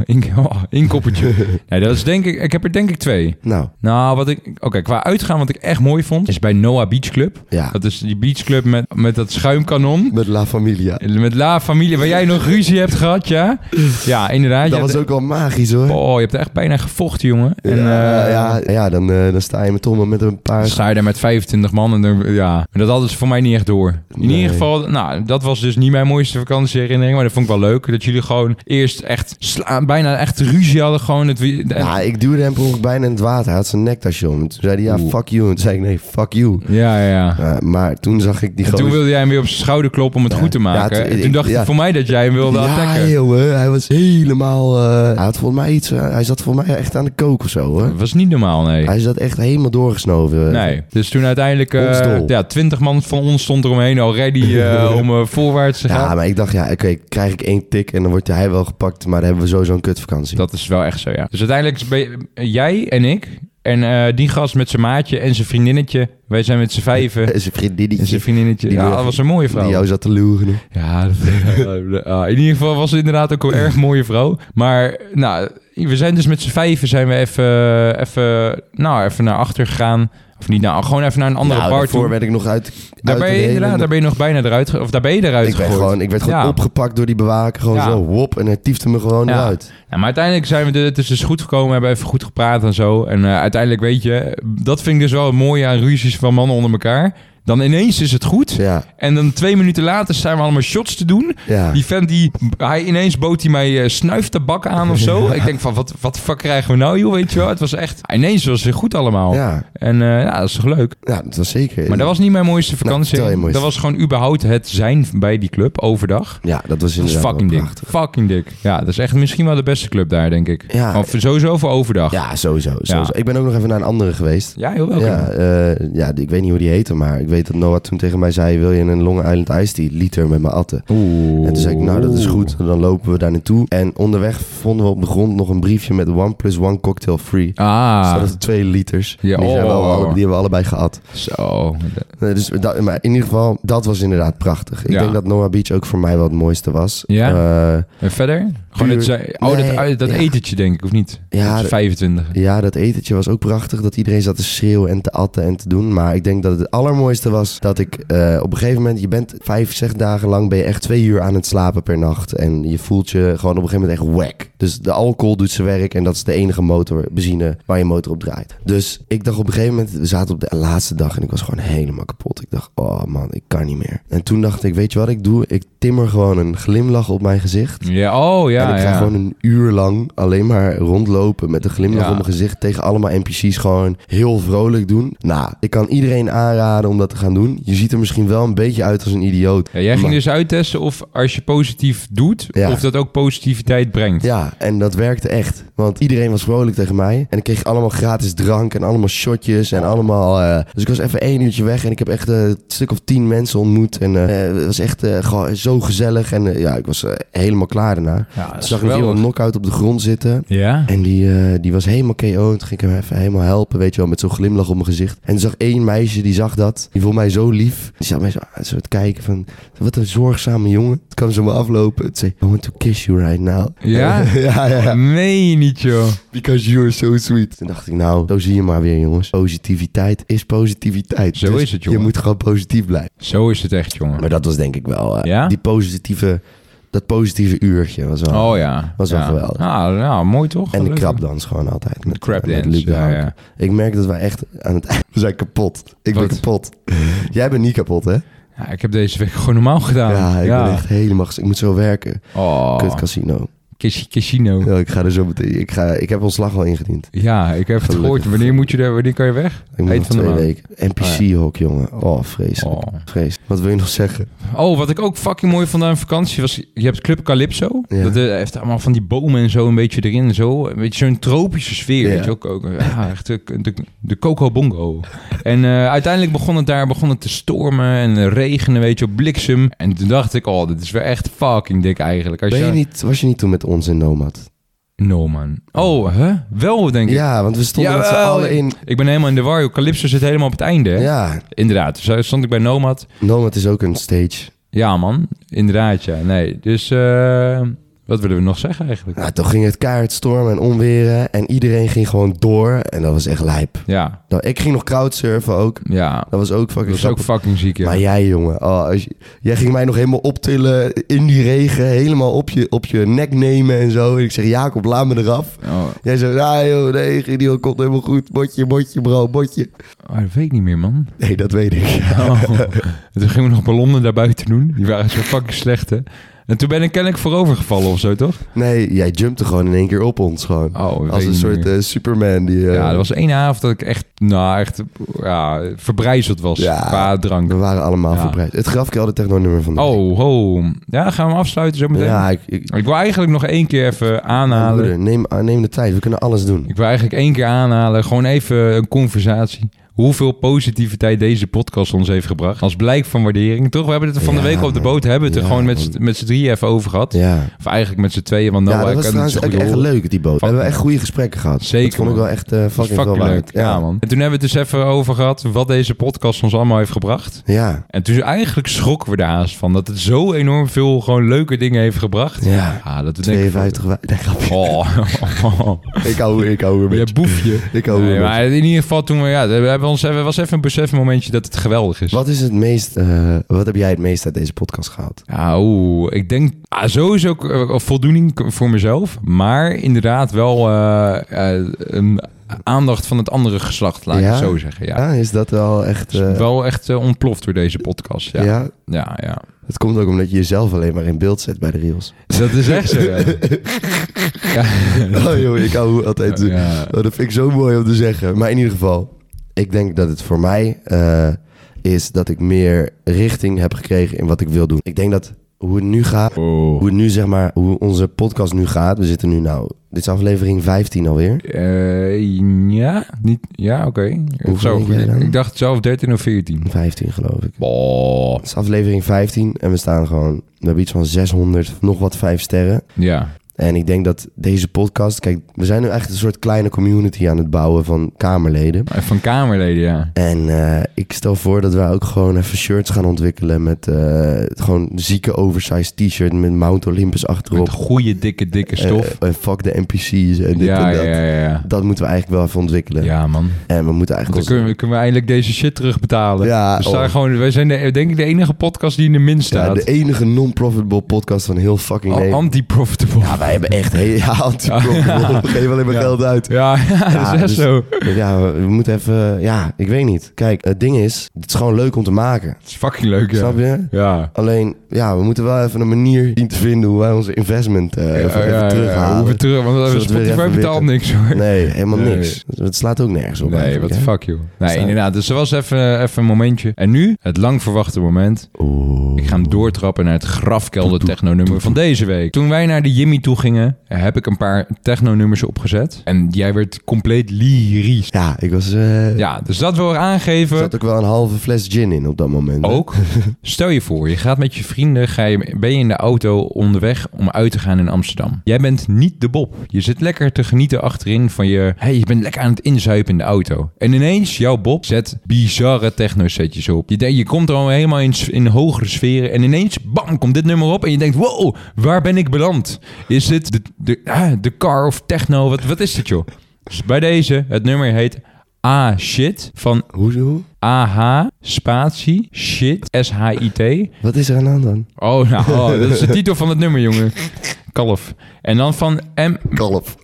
[SPEAKER 3] in- ah, Inkoppertje. nee, dat is denk ik, ik heb er denk ik twee.
[SPEAKER 1] Nou,
[SPEAKER 3] Nou, wat ik, oké, qua uitgaan wat ik echt mooi vond, is bij Noah Beach Club.
[SPEAKER 1] Ja.
[SPEAKER 3] Dat is die beach club met, met dat schuimkanon.
[SPEAKER 1] met La Familia.
[SPEAKER 3] Met La Familie, waar jij nog ruzie hebt gehad, ja? Ja, inderdaad.
[SPEAKER 1] Dat
[SPEAKER 3] Je
[SPEAKER 1] was
[SPEAKER 3] hebt-
[SPEAKER 1] ook wel magisch, hoor.
[SPEAKER 3] Oh, je hebt echt bijna gevochten, jongen. En,
[SPEAKER 1] ja,
[SPEAKER 3] eh,
[SPEAKER 1] ja, ja, dan, eh, dan sta je met Tom met een
[SPEAKER 3] Dan
[SPEAKER 1] paar...
[SPEAKER 3] sta je daar met 25 man en dan, ja. Maar dat hadden ze voor mij niet echt door. In
[SPEAKER 1] Nee.
[SPEAKER 3] ieder geval, nou, dat was dus niet mijn mooiste vakantieherinnering. Maar dat vond ik wel leuk. Dat jullie gewoon eerst echt sla- bijna echt ruzie hadden. Gewoon het, wie- de-
[SPEAKER 1] Ja, ik duwde hem per ongeluk bijna in het water. Hij had zijn nektasje om. En Toen zei hij, ja,
[SPEAKER 3] Oeh.
[SPEAKER 1] fuck you. En toen zei ik, nee, fuck you.
[SPEAKER 3] ja, ja. ja.
[SPEAKER 1] Eh, maar toen zag ik die
[SPEAKER 3] En toen wilde jij hem weer op zijn schouder kloppen om het goed te maken.
[SPEAKER 1] Ja,
[SPEAKER 3] en
[SPEAKER 1] toen-
[SPEAKER 3] toen
[SPEAKER 1] ik-
[SPEAKER 3] dacht ik
[SPEAKER 1] ja.
[SPEAKER 3] voor mij dat jij hem wilde
[SPEAKER 1] Ja,
[SPEAKER 3] attacken.
[SPEAKER 1] jongen. Hij was helemaal... eh, hij had volgens mij iets... eh, hij zat volgens mij echt aan de kook of zo, hoor.
[SPEAKER 3] Dat was niet normaal, nee.
[SPEAKER 1] Hij zat echt helemaal doorgesnoven.
[SPEAKER 3] Nee, dus toen uiteindelijk eh,
[SPEAKER 1] Hondsdol.
[SPEAKER 3] ja, 20 man van ons stond er omheen al ready eh, om eh, voorwaarts te gaan.
[SPEAKER 1] Ja, maar ik dacht, ja, oké, krijg ik één tik en dan wordt hij wel gepakt, maar dan hebben we sowieso een kutvakantie.
[SPEAKER 3] Dat is wel echt zo, ja. Dus uiteindelijk ben je- jij en ik en eh, die gast met zijn maatje en zijn vriendinnetje. Wij zijn met z'n vijven
[SPEAKER 1] is een vriendinnetje
[SPEAKER 3] en zijn vriendinnetje.
[SPEAKER 1] Die
[SPEAKER 3] ja,
[SPEAKER 1] wil-
[SPEAKER 3] dat was een mooie vrouw.
[SPEAKER 1] die jou zat te loeren.
[SPEAKER 3] Ja, dat, ja, in ieder geval was het inderdaad ook een erg mooie vrouw. Maar nou, we zijn dus met z'n vijven zijn we even, eh, even, nou, even naar achter gegaan. Of niet, nou, gewoon even naar een andere
[SPEAKER 1] nou,
[SPEAKER 3] bar
[SPEAKER 1] daarvoor
[SPEAKER 3] toe.
[SPEAKER 1] werd ik nog uit,
[SPEAKER 3] Daar
[SPEAKER 1] uit
[SPEAKER 3] ben,
[SPEAKER 1] de
[SPEAKER 3] je,
[SPEAKER 1] hele-
[SPEAKER 3] inderdaad, daar ben je nog bijna eruit ge- Of daar ben je eruit
[SPEAKER 1] ik, ben
[SPEAKER 3] gegooid.
[SPEAKER 1] gewoon, ik werd gewoon
[SPEAKER 3] Ja.
[SPEAKER 1] opgepakt door die bewaker, gewoon
[SPEAKER 3] Ja.
[SPEAKER 1] zo, wop, en hij tiefde me gewoon
[SPEAKER 3] Ja.
[SPEAKER 1] eruit.
[SPEAKER 3] Ja, maar uiteindelijk zijn we de- het is dus goed gekomen, hebben even goed gepraat en zo. En eh, uiteindelijk weet je, dat vind ik dus wel het mooie aan ruzies van mannen onder elkaar. Dan ineens is het goed.
[SPEAKER 1] Ja,
[SPEAKER 3] En dan twee minuten later zijn we allemaal shots te doen.
[SPEAKER 1] ja.
[SPEAKER 3] Die vent die, hij ineens bood hij mij eh, snuiftabak aan of zo. Ik denk van, wat, wat de fuck krijgen we nou joh, weet je wel. Het was echt, ineens was het weer goed allemaal.
[SPEAKER 1] ja.
[SPEAKER 3] En eh, ja, dat is toch leuk.
[SPEAKER 1] ja, dat was zeker.
[SPEAKER 3] Maar dat was niet mijn mooiste vakantie.
[SPEAKER 1] vertel je mooiste.
[SPEAKER 3] dat was gewoon überhaupt het zijn bij die club overdag.
[SPEAKER 1] Ja, dat was
[SPEAKER 3] Dat is
[SPEAKER 1] inderdaad
[SPEAKER 3] fucking
[SPEAKER 1] wel
[SPEAKER 3] dik.
[SPEAKER 1] prachtig.
[SPEAKER 3] Fucking dik. Ja, dat is echt misschien wel de beste club daar, denk ik.
[SPEAKER 1] Ja.
[SPEAKER 3] Of sowieso voor overdag.
[SPEAKER 1] Ja, sowieso. sowieso. Ik ben ook nog even naar een andere geweest.
[SPEAKER 3] Ja, heel welkom.
[SPEAKER 1] Ja, eh, ja, die- ik weet niet hoe die heette, maar ik weet dat Noah toen tegen mij zei... wil je een Long Island Ice Tea liter met me atten?
[SPEAKER 3] Oeh.
[SPEAKER 1] En toen zei ik, nou dat is goed, dan lopen we daar naartoe. En onderweg vonden we op de grond nog een briefje met one plus one cocktail free. Dus
[SPEAKER 3] Ah,
[SPEAKER 1] dat is twee liters.
[SPEAKER 3] Ja,
[SPEAKER 1] die, zijn we
[SPEAKER 3] oh.
[SPEAKER 1] al- die hebben we allebei gehad.
[SPEAKER 3] zo.
[SPEAKER 1] Nee, Dus dat, maar in ieder geval, dat was inderdaad prachtig. Ik
[SPEAKER 3] Ja.
[SPEAKER 1] denk dat Noah Beach ook voor mij wel het mooiste was.
[SPEAKER 3] Ja?
[SPEAKER 1] Eh,
[SPEAKER 3] En verder? Gewoon het, zei- oh,
[SPEAKER 1] Nee,
[SPEAKER 3] dat, dat
[SPEAKER 1] ja.
[SPEAKER 3] etentje denk ik, of niet?
[SPEAKER 1] Ja,
[SPEAKER 3] Dat is
[SPEAKER 1] dat-
[SPEAKER 3] 25.
[SPEAKER 1] ja, dat etentje was ook prachtig. Dat iedereen zat te schreeuwen en te atten en te doen. Maar ik denk dat het allermooiste was dat ik eh, op een gegeven moment... Je bent vijf, zes dagen lang ben je echt twee uur aan het slapen per nacht. En je voelt je gewoon op een gegeven moment echt wack. Dus de alcohol doet zijn werk. En dat is de enige motor, benzine, waar je motor op draait. Dus ik dacht op een gegeven moment... We zaten op de laatste dag en ik was gewoon helemaal kapot. Ik dacht, oh man, ik kan niet meer. En toen dacht ik, weet je wat ik doe? Ik timmer gewoon een glimlach op mijn gezicht.
[SPEAKER 3] Ja, oh ja,
[SPEAKER 1] en ik ga
[SPEAKER 3] ja.
[SPEAKER 1] gewoon een uur lang alleen maar rondlopen met een glimlach
[SPEAKER 3] Ja.
[SPEAKER 1] om mijn gezicht tegen allemaal NPC's gewoon heel vrolijk doen. Nou, ik kan iedereen aanraden om dat te gaan doen. Je ziet er misschien wel een beetje uit als een idioot.
[SPEAKER 3] Ja, jij ging
[SPEAKER 1] maar-
[SPEAKER 3] dus uittesten of als je positief doet,
[SPEAKER 1] Ja.
[SPEAKER 3] of dat ook positiviteit brengt.
[SPEAKER 1] Ja, Ja, en dat werkte echt. Want iedereen was vrolijk tegen mij. En ik kreeg allemaal gratis drank en allemaal shotjes en allemaal... eh, dus ik was even één uurtje weg en ik heb echt eh, een stuk of tien mensen ontmoet. En eh, eh, het was echt eh, gewoon zo gezellig. En eh, ja, ik was eh, helemaal klaar daarna.
[SPEAKER 3] Ja, dat
[SPEAKER 1] Ik
[SPEAKER 3] is
[SPEAKER 1] zag ik nog iemand
[SPEAKER 3] geweldig.
[SPEAKER 1] knock-out op de grond zitten.
[SPEAKER 3] Ja?
[SPEAKER 1] En die, eh, die was helemaal KO. En toen ging ik hem even helemaal helpen, weet je wel, met zo'n glimlach op mijn gezicht. En toen zag één meisje, die zag dat. Die vond mij zo lief. Die zat mij zo, aan- zo te kijken van, wat een zorgzame jongen. Toen kwam ze me aflopen. Toen zei, I want to kiss you right now.
[SPEAKER 3] Ja? Mm.
[SPEAKER 1] ja, ja, ja.
[SPEAKER 3] Nee, niet joh.
[SPEAKER 1] Because you are so sweet. Toen dacht ik, nou, zo zie je maar weer, jongens. Positiviteit is positiviteit. Dus
[SPEAKER 3] Zo is het,
[SPEAKER 1] Je
[SPEAKER 3] jongen.
[SPEAKER 1] moet gewoon positief blijven.
[SPEAKER 3] Zo is het echt, jongen.
[SPEAKER 1] Maar dat was denk ik wel, eh,
[SPEAKER 3] Ja?
[SPEAKER 1] die positieve, dat positieve uurtje was wel...
[SPEAKER 3] Oh ja.
[SPEAKER 1] Was wel
[SPEAKER 3] Ja.
[SPEAKER 1] geweldig.
[SPEAKER 3] Nou, nou, mooi toch?
[SPEAKER 1] En de
[SPEAKER 3] Leuk.
[SPEAKER 1] krapdans gewoon altijd. Met,
[SPEAKER 3] crab
[SPEAKER 1] eh, met
[SPEAKER 3] dance,
[SPEAKER 1] Luc de
[SPEAKER 3] ja,
[SPEAKER 1] Hout.
[SPEAKER 3] ja.
[SPEAKER 1] Ik merk dat wij echt aan het einde... We zijn kapot. Ik ben
[SPEAKER 3] Wat? Ah,
[SPEAKER 1] kapot. Jij bent niet kapot, hè?
[SPEAKER 3] Ja, ik heb deze week gewoon normaal gedaan.
[SPEAKER 1] ja, ik ben echt helemaal... ges- Ik moet zo werken.
[SPEAKER 3] Oh,
[SPEAKER 1] Kut casino.
[SPEAKER 3] cas- casino. Ja.
[SPEAKER 1] Ja, ik ga er zo meteen... Ik, ga, ik heb ontslag al ingediend.
[SPEAKER 3] ik heb het
[SPEAKER 1] Gelukkig.
[SPEAKER 3] gehoord. Wanneer moet je daar, wanneer kan je weg?
[SPEAKER 1] Ik moet
[SPEAKER 3] Eind
[SPEAKER 1] nog
[SPEAKER 3] van de
[SPEAKER 1] twee
[SPEAKER 3] maand. Ah,
[SPEAKER 1] weken. NPC-hok, jongen. Oh, vreselijk.
[SPEAKER 3] Oh.
[SPEAKER 1] Vreselijk. Wat wil je nog zeggen?
[SPEAKER 3] Oh, wat ik ook fucking mooi vond aan een vakantie was... Je hebt Club Calypso.
[SPEAKER 1] Ja.
[SPEAKER 3] Dat eh, heeft allemaal van die bomen en zo een beetje erin. en Zo. Een beetje zo'n tropische sfeer.
[SPEAKER 1] Ja.
[SPEAKER 3] Weet je ook. ook eh, ja, echt de, de, de Coco Bongo. En eh, uiteindelijk begon het daar begon het te stormen en regenen, weet je, op bliksem. En toen dacht ik, oh, dit is weer echt fucking dik eigenlijk. Als
[SPEAKER 1] Ben je
[SPEAKER 3] je-
[SPEAKER 1] niet, was je niet toen met ons in Nomad?
[SPEAKER 3] No, man. Oh, hè? Wel, denk ik.
[SPEAKER 1] Ja, want we stonden met z'n
[SPEAKER 3] Jawel,
[SPEAKER 1] allen in...
[SPEAKER 3] Ik ben helemaal in de war. joh. Calypso zit helemaal op het einde. Hè?
[SPEAKER 1] Ja,
[SPEAKER 3] Inderdaad. Dus daar stond ik bij Nomad.
[SPEAKER 1] Nomad is ook een stage.
[SPEAKER 3] Ja, man. Inderdaad, ja. Nee, dus... eh, wat willen we nog zeggen eigenlijk?
[SPEAKER 1] Nou, toen ging het keihard stormen en onweren. En iedereen ging gewoon door. En dat was echt lijp.
[SPEAKER 3] Ja,
[SPEAKER 1] Nou, ik ging nog crowdsurfen ook.
[SPEAKER 3] ja.
[SPEAKER 1] Dat was ook
[SPEAKER 3] Dat
[SPEAKER 1] fucking
[SPEAKER 3] is ook
[SPEAKER 1] grappig.
[SPEAKER 3] fucking ziek, ja.
[SPEAKER 1] Maar jij, jongen. Oh, als je- jij ging mij nog helemaal optillen in die regen. Helemaal op je, op je nek nemen en zo. En ik zeg, Jacob, laat me eraf.
[SPEAKER 3] Oh,
[SPEAKER 1] Jij zegt, ah joh, nee, Gideon komt helemaal goed. Botje, botje, bro, botje.
[SPEAKER 3] oh, dat weet ik niet meer, man.
[SPEAKER 1] Nee, dat weet ik.
[SPEAKER 3] Oh. En toen gingen we nog ballonnen daarbuiten doen. Die waren zo fucking slecht, hè. En toen ben ik kennelijk voorovergevallen of zo, toch?
[SPEAKER 1] Nee, jij jumpte gewoon in één keer op ons. Gewoon.
[SPEAKER 3] Oh, weet
[SPEAKER 1] Als
[SPEAKER 3] ik
[SPEAKER 1] een
[SPEAKER 3] niet
[SPEAKER 1] soort
[SPEAKER 3] meer.
[SPEAKER 1] eh, Superman. Die, eh,
[SPEAKER 3] Ja, er was één avond dat ik echt, nou, echt ja, verbrijzeld was
[SPEAKER 1] Ja.
[SPEAKER 3] qua drank.
[SPEAKER 1] We waren allemaal
[SPEAKER 3] Ja.
[SPEAKER 1] verbreid. Het gaf ik al de techno-nummer van de week.
[SPEAKER 3] Oh, ho. Ja, gaan we hem afsluiten zo meteen?
[SPEAKER 1] Ja, ik, ik,
[SPEAKER 3] Ik wil eigenlijk nog één keer even aanhalen.
[SPEAKER 1] Broeder, neem, ah, neem de tijd. We kunnen alles doen.
[SPEAKER 3] Ik wil eigenlijk één keer aanhalen, gewoon even een conversatie. Hoeveel positiviteit deze podcast ons heeft gebracht. Als blijk van waardering. Toch, we hebben het er van de
[SPEAKER 1] Ja,
[SPEAKER 3] week op de
[SPEAKER 1] man.
[SPEAKER 3] boot. Hebben we het er
[SPEAKER 1] Ja,
[SPEAKER 3] gewoon met
[SPEAKER 1] man.
[SPEAKER 3] z'n- met z'n drieën even over gehad.
[SPEAKER 1] Ja.
[SPEAKER 3] Of eigenlijk met z'n tweeën, want
[SPEAKER 1] ja,
[SPEAKER 3] Noah
[SPEAKER 1] dat
[SPEAKER 3] kan
[SPEAKER 1] was
[SPEAKER 3] het
[SPEAKER 1] trouwens
[SPEAKER 3] Oh, niet
[SPEAKER 1] ook
[SPEAKER 3] zo goed
[SPEAKER 1] echt
[SPEAKER 3] horen.
[SPEAKER 1] leuk, die boot. We hebben echt goede gesprekken gehad.
[SPEAKER 3] Zeker,
[SPEAKER 1] Dat vond ik
[SPEAKER 3] man.
[SPEAKER 1] wel echt eh,
[SPEAKER 3] Dat is
[SPEAKER 1] fucking veel
[SPEAKER 3] fucking
[SPEAKER 1] waard.
[SPEAKER 3] leuk. Ja. man. En toen hebben we het dus even over gehad wat deze podcast ons allemaal heeft gebracht.
[SPEAKER 1] Ja.
[SPEAKER 3] En toen eigenlijk schrokken we er haast van dat het zo enorm veel gewoon leuke dingen heeft gebracht. Ah,
[SPEAKER 1] Ja.
[SPEAKER 3] dat we denken van-
[SPEAKER 1] 52 wa- Nee, grapje.
[SPEAKER 3] Oh,
[SPEAKER 1] Ik hou weer, ik hou weer
[SPEAKER 3] Ja,
[SPEAKER 1] met je.
[SPEAKER 3] boefje.
[SPEAKER 1] Ik hou weer
[SPEAKER 3] Nee,
[SPEAKER 1] met je.
[SPEAKER 3] maar in ieder geval toen we... Ja, we hebben ons, even- was even een besefmomentje dat het geweldig is.
[SPEAKER 1] Wat is het meest... eh, wat heb jij het meest uit deze podcast gehaald?
[SPEAKER 3] Ja, oeh, ik denk ah, sowieso ook eh, voldoening k- voor mezelf. Maar inderdaad wel eh, eh, een aandacht van het andere geslacht, laat ik
[SPEAKER 1] Ja?
[SPEAKER 3] het zo zeggen. Ja.
[SPEAKER 1] Ja, is dat wel echt...
[SPEAKER 3] Dus
[SPEAKER 1] eh,
[SPEAKER 3] wel echt eh, ontploft door deze podcast. Ja.
[SPEAKER 1] ja.
[SPEAKER 3] Ja. ja,
[SPEAKER 1] het komt ook omdat je jezelf alleen maar in beeld zet bij de reels.
[SPEAKER 3] Dat is echt zo. ja.
[SPEAKER 1] Oh joh, ik hou altijd...
[SPEAKER 3] Ja.
[SPEAKER 1] Oh, dat vind ik zo mooi om te zeggen. Maar in ieder geval, ik denk dat het voor mij eh, is dat ik meer richting heb gekregen in wat ik wil doen. Ik denk dat hoe het nu gaat,
[SPEAKER 3] Oh.
[SPEAKER 1] hoe het nu zeg maar, hoe onze podcast nu gaat. We zitten nu nou, dit is aflevering 15 alweer.
[SPEAKER 3] Eh, ja, niet, ja oké.
[SPEAKER 1] Hoeveel
[SPEAKER 3] Zo,
[SPEAKER 1] denk jij dan?
[SPEAKER 3] Ik dacht zelf 13 of 14.
[SPEAKER 1] 15 geloof ik.
[SPEAKER 3] Boah.
[SPEAKER 1] Het is aflevering 15 en we staan gewoon, we hebben iets van 600, nog wat 5 sterren.
[SPEAKER 3] Ja.
[SPEAKER 1] En ik denk dat deze podcast, kijk, we zijn nu echt een soort kleine community aan het bouwen van Kamerleden.
[SPEAKER 3] Van Kamerleden, ja.
[SPEAKER 1] En eh, ik stel voor dat wij ook gewoon even shirts gaan ontwikkelen met eh, gewoon zieke oversized t-shirt met Mount Olympus achterop.
[SPEAKER 3] Met goede, dikke, dikke stof.
[SPEAKER 1] Eh, eh, fuck de NPC's en dit
[SPEAKER 3] ja, ja,
[SPEAKER 1] en dat.
[SPEAKER 3] ja, ja.
[SPEAKER 1] Dat moeten we eigenlijk wel even ontwikkelen.
[SPEAKER 3] Ja, man.
[SPEAKER 1] En we moeten
[SPEAKER 3] Dan
[SPEAKER 1] eigenlijk...
[SPEAKER 3] kunnen we, kunnen we eindelijk deze shit terugbetalen.
[SPEAKER 1] Ja,
[SPEAKER 3] we staan
[SPEAKER 1] oh.
[SPEAKER 3] gewoon, wij zijn de, denk ik de enige podcast die in de min
[SPEAKER 1] ja,
[SPEAKER 3] staat.
[SPEAKER 1] de enige non-profitable podcast van heel fucking
[SPEAKER 3] Al
[SPEAKER 1] Nederland.
[SPEAKER 3] Anti-profitable. Ja,
[SPEAKER 1] Ah, Wij hebben echt heel ja, anti-profitable. We geven alleen maar
[SPEAKER 3] Ja.
[SPEAKER 1] geld uit.
[SPEAKER 3] ja, dat is echt
[SPEAKER 1] dus-
[SPEAKER 3] zo.
[SPEAKER 1] Ja, we, we moeten even... eh, Ja, ik weet niet. Kijk, het ding is, het is gewoon leuk om te maken.
[SPEAKER 3] Het is fucking leuk, ja.
[SPEAKER 1] Snap je?
[SPEAKER 3] Ja.
[SPEAKER 1] Alleen, ja, we moeten wel even een manier zien te vinden hoe wij onze investment eh, even,
[SPEAKER 3] Ja,
[SPEAKER 1] even
[SPEAKER 3] ja, ja,
[SPEAKER 1] terughalen.
[SPEAKER 3] hoeven we terug, want
[SPEAKER 1] Zodat we weer
[SPEAKER 3] Spotify
[SPEAKER 1] even
[SPEAKER 3] betaalt
[SPEAKER 1] weer-
[SPEAKER 3] niks hoor.
[SPEAKER 1] Nee, helemaal
[SPEAKER 3] Nee.
[SPEAKER 1] niks. Het slaat ook nergens op.
[SPEAKER 3] Nee,
[SPEAKER 1] eigenlijk,
[SPEAKER 3] wat de
[SPEAKER 1] hè?
[SPEAKER 3] fuck, joh. Nee,
[SPEAKER 1] Zijn-
[SPEAKER 3] inderdaad. Dus dat was even, even een momentje. En nu, het lang verwachte moment.
[SPEAKER 1] Oeh.
[SPEAKER 3] Ik ga hem doortrappen naar het grafkelder technonummer van deze week. Toen wij naar de Jimmy toe naartoe gingen, heb ik een paar techno-nummers opgezet. En jij werd compleet lyrisch.
[SPEAKER 1] Ja, ik was... eh
[SPEAKER 3] Ja, dus dat wil
[SPEAKER 1] Er
[SPEAKER 3] aangeven.
[SPEAKER 1] zat ook wel een halve fles gin in op dat moment. hè?
[SPEAKER 3] Ook, stel je voor, je gaat met je vrienden, ga je, ben je in de auto onderweg om uit te gaan in Amsterdam. Jij bent niet de Bob. Je zit lekker te genieten achterin van je... Hey, je bent lekker aan het inzuipen in de auto. En ineens, jouw Bob zet bizarre techno-setjes op. Je, denkt, je komt al helemaal in, s- in hogere sferen en ineens, bam, komt dit nummer op. En je denkt, wow, waar ben ik beland? Is dit de, de, ah, de car of techno? Wat, wat is dit, joh? Dus bij deze, het nummer heet... Ah, shit. Van
[SPEAKER 1] Hoezo?
[SPEAKER 3] AH, spatie, shit, S-H-I-T.
[SPEAKER 1] Wat is er aan de hand dan?
[SPEAKER 3] Oh, nou, oh, dat is de titel van het nummer, jongen. Kalf. En dan van M
[SPEAKER 1] Kalf.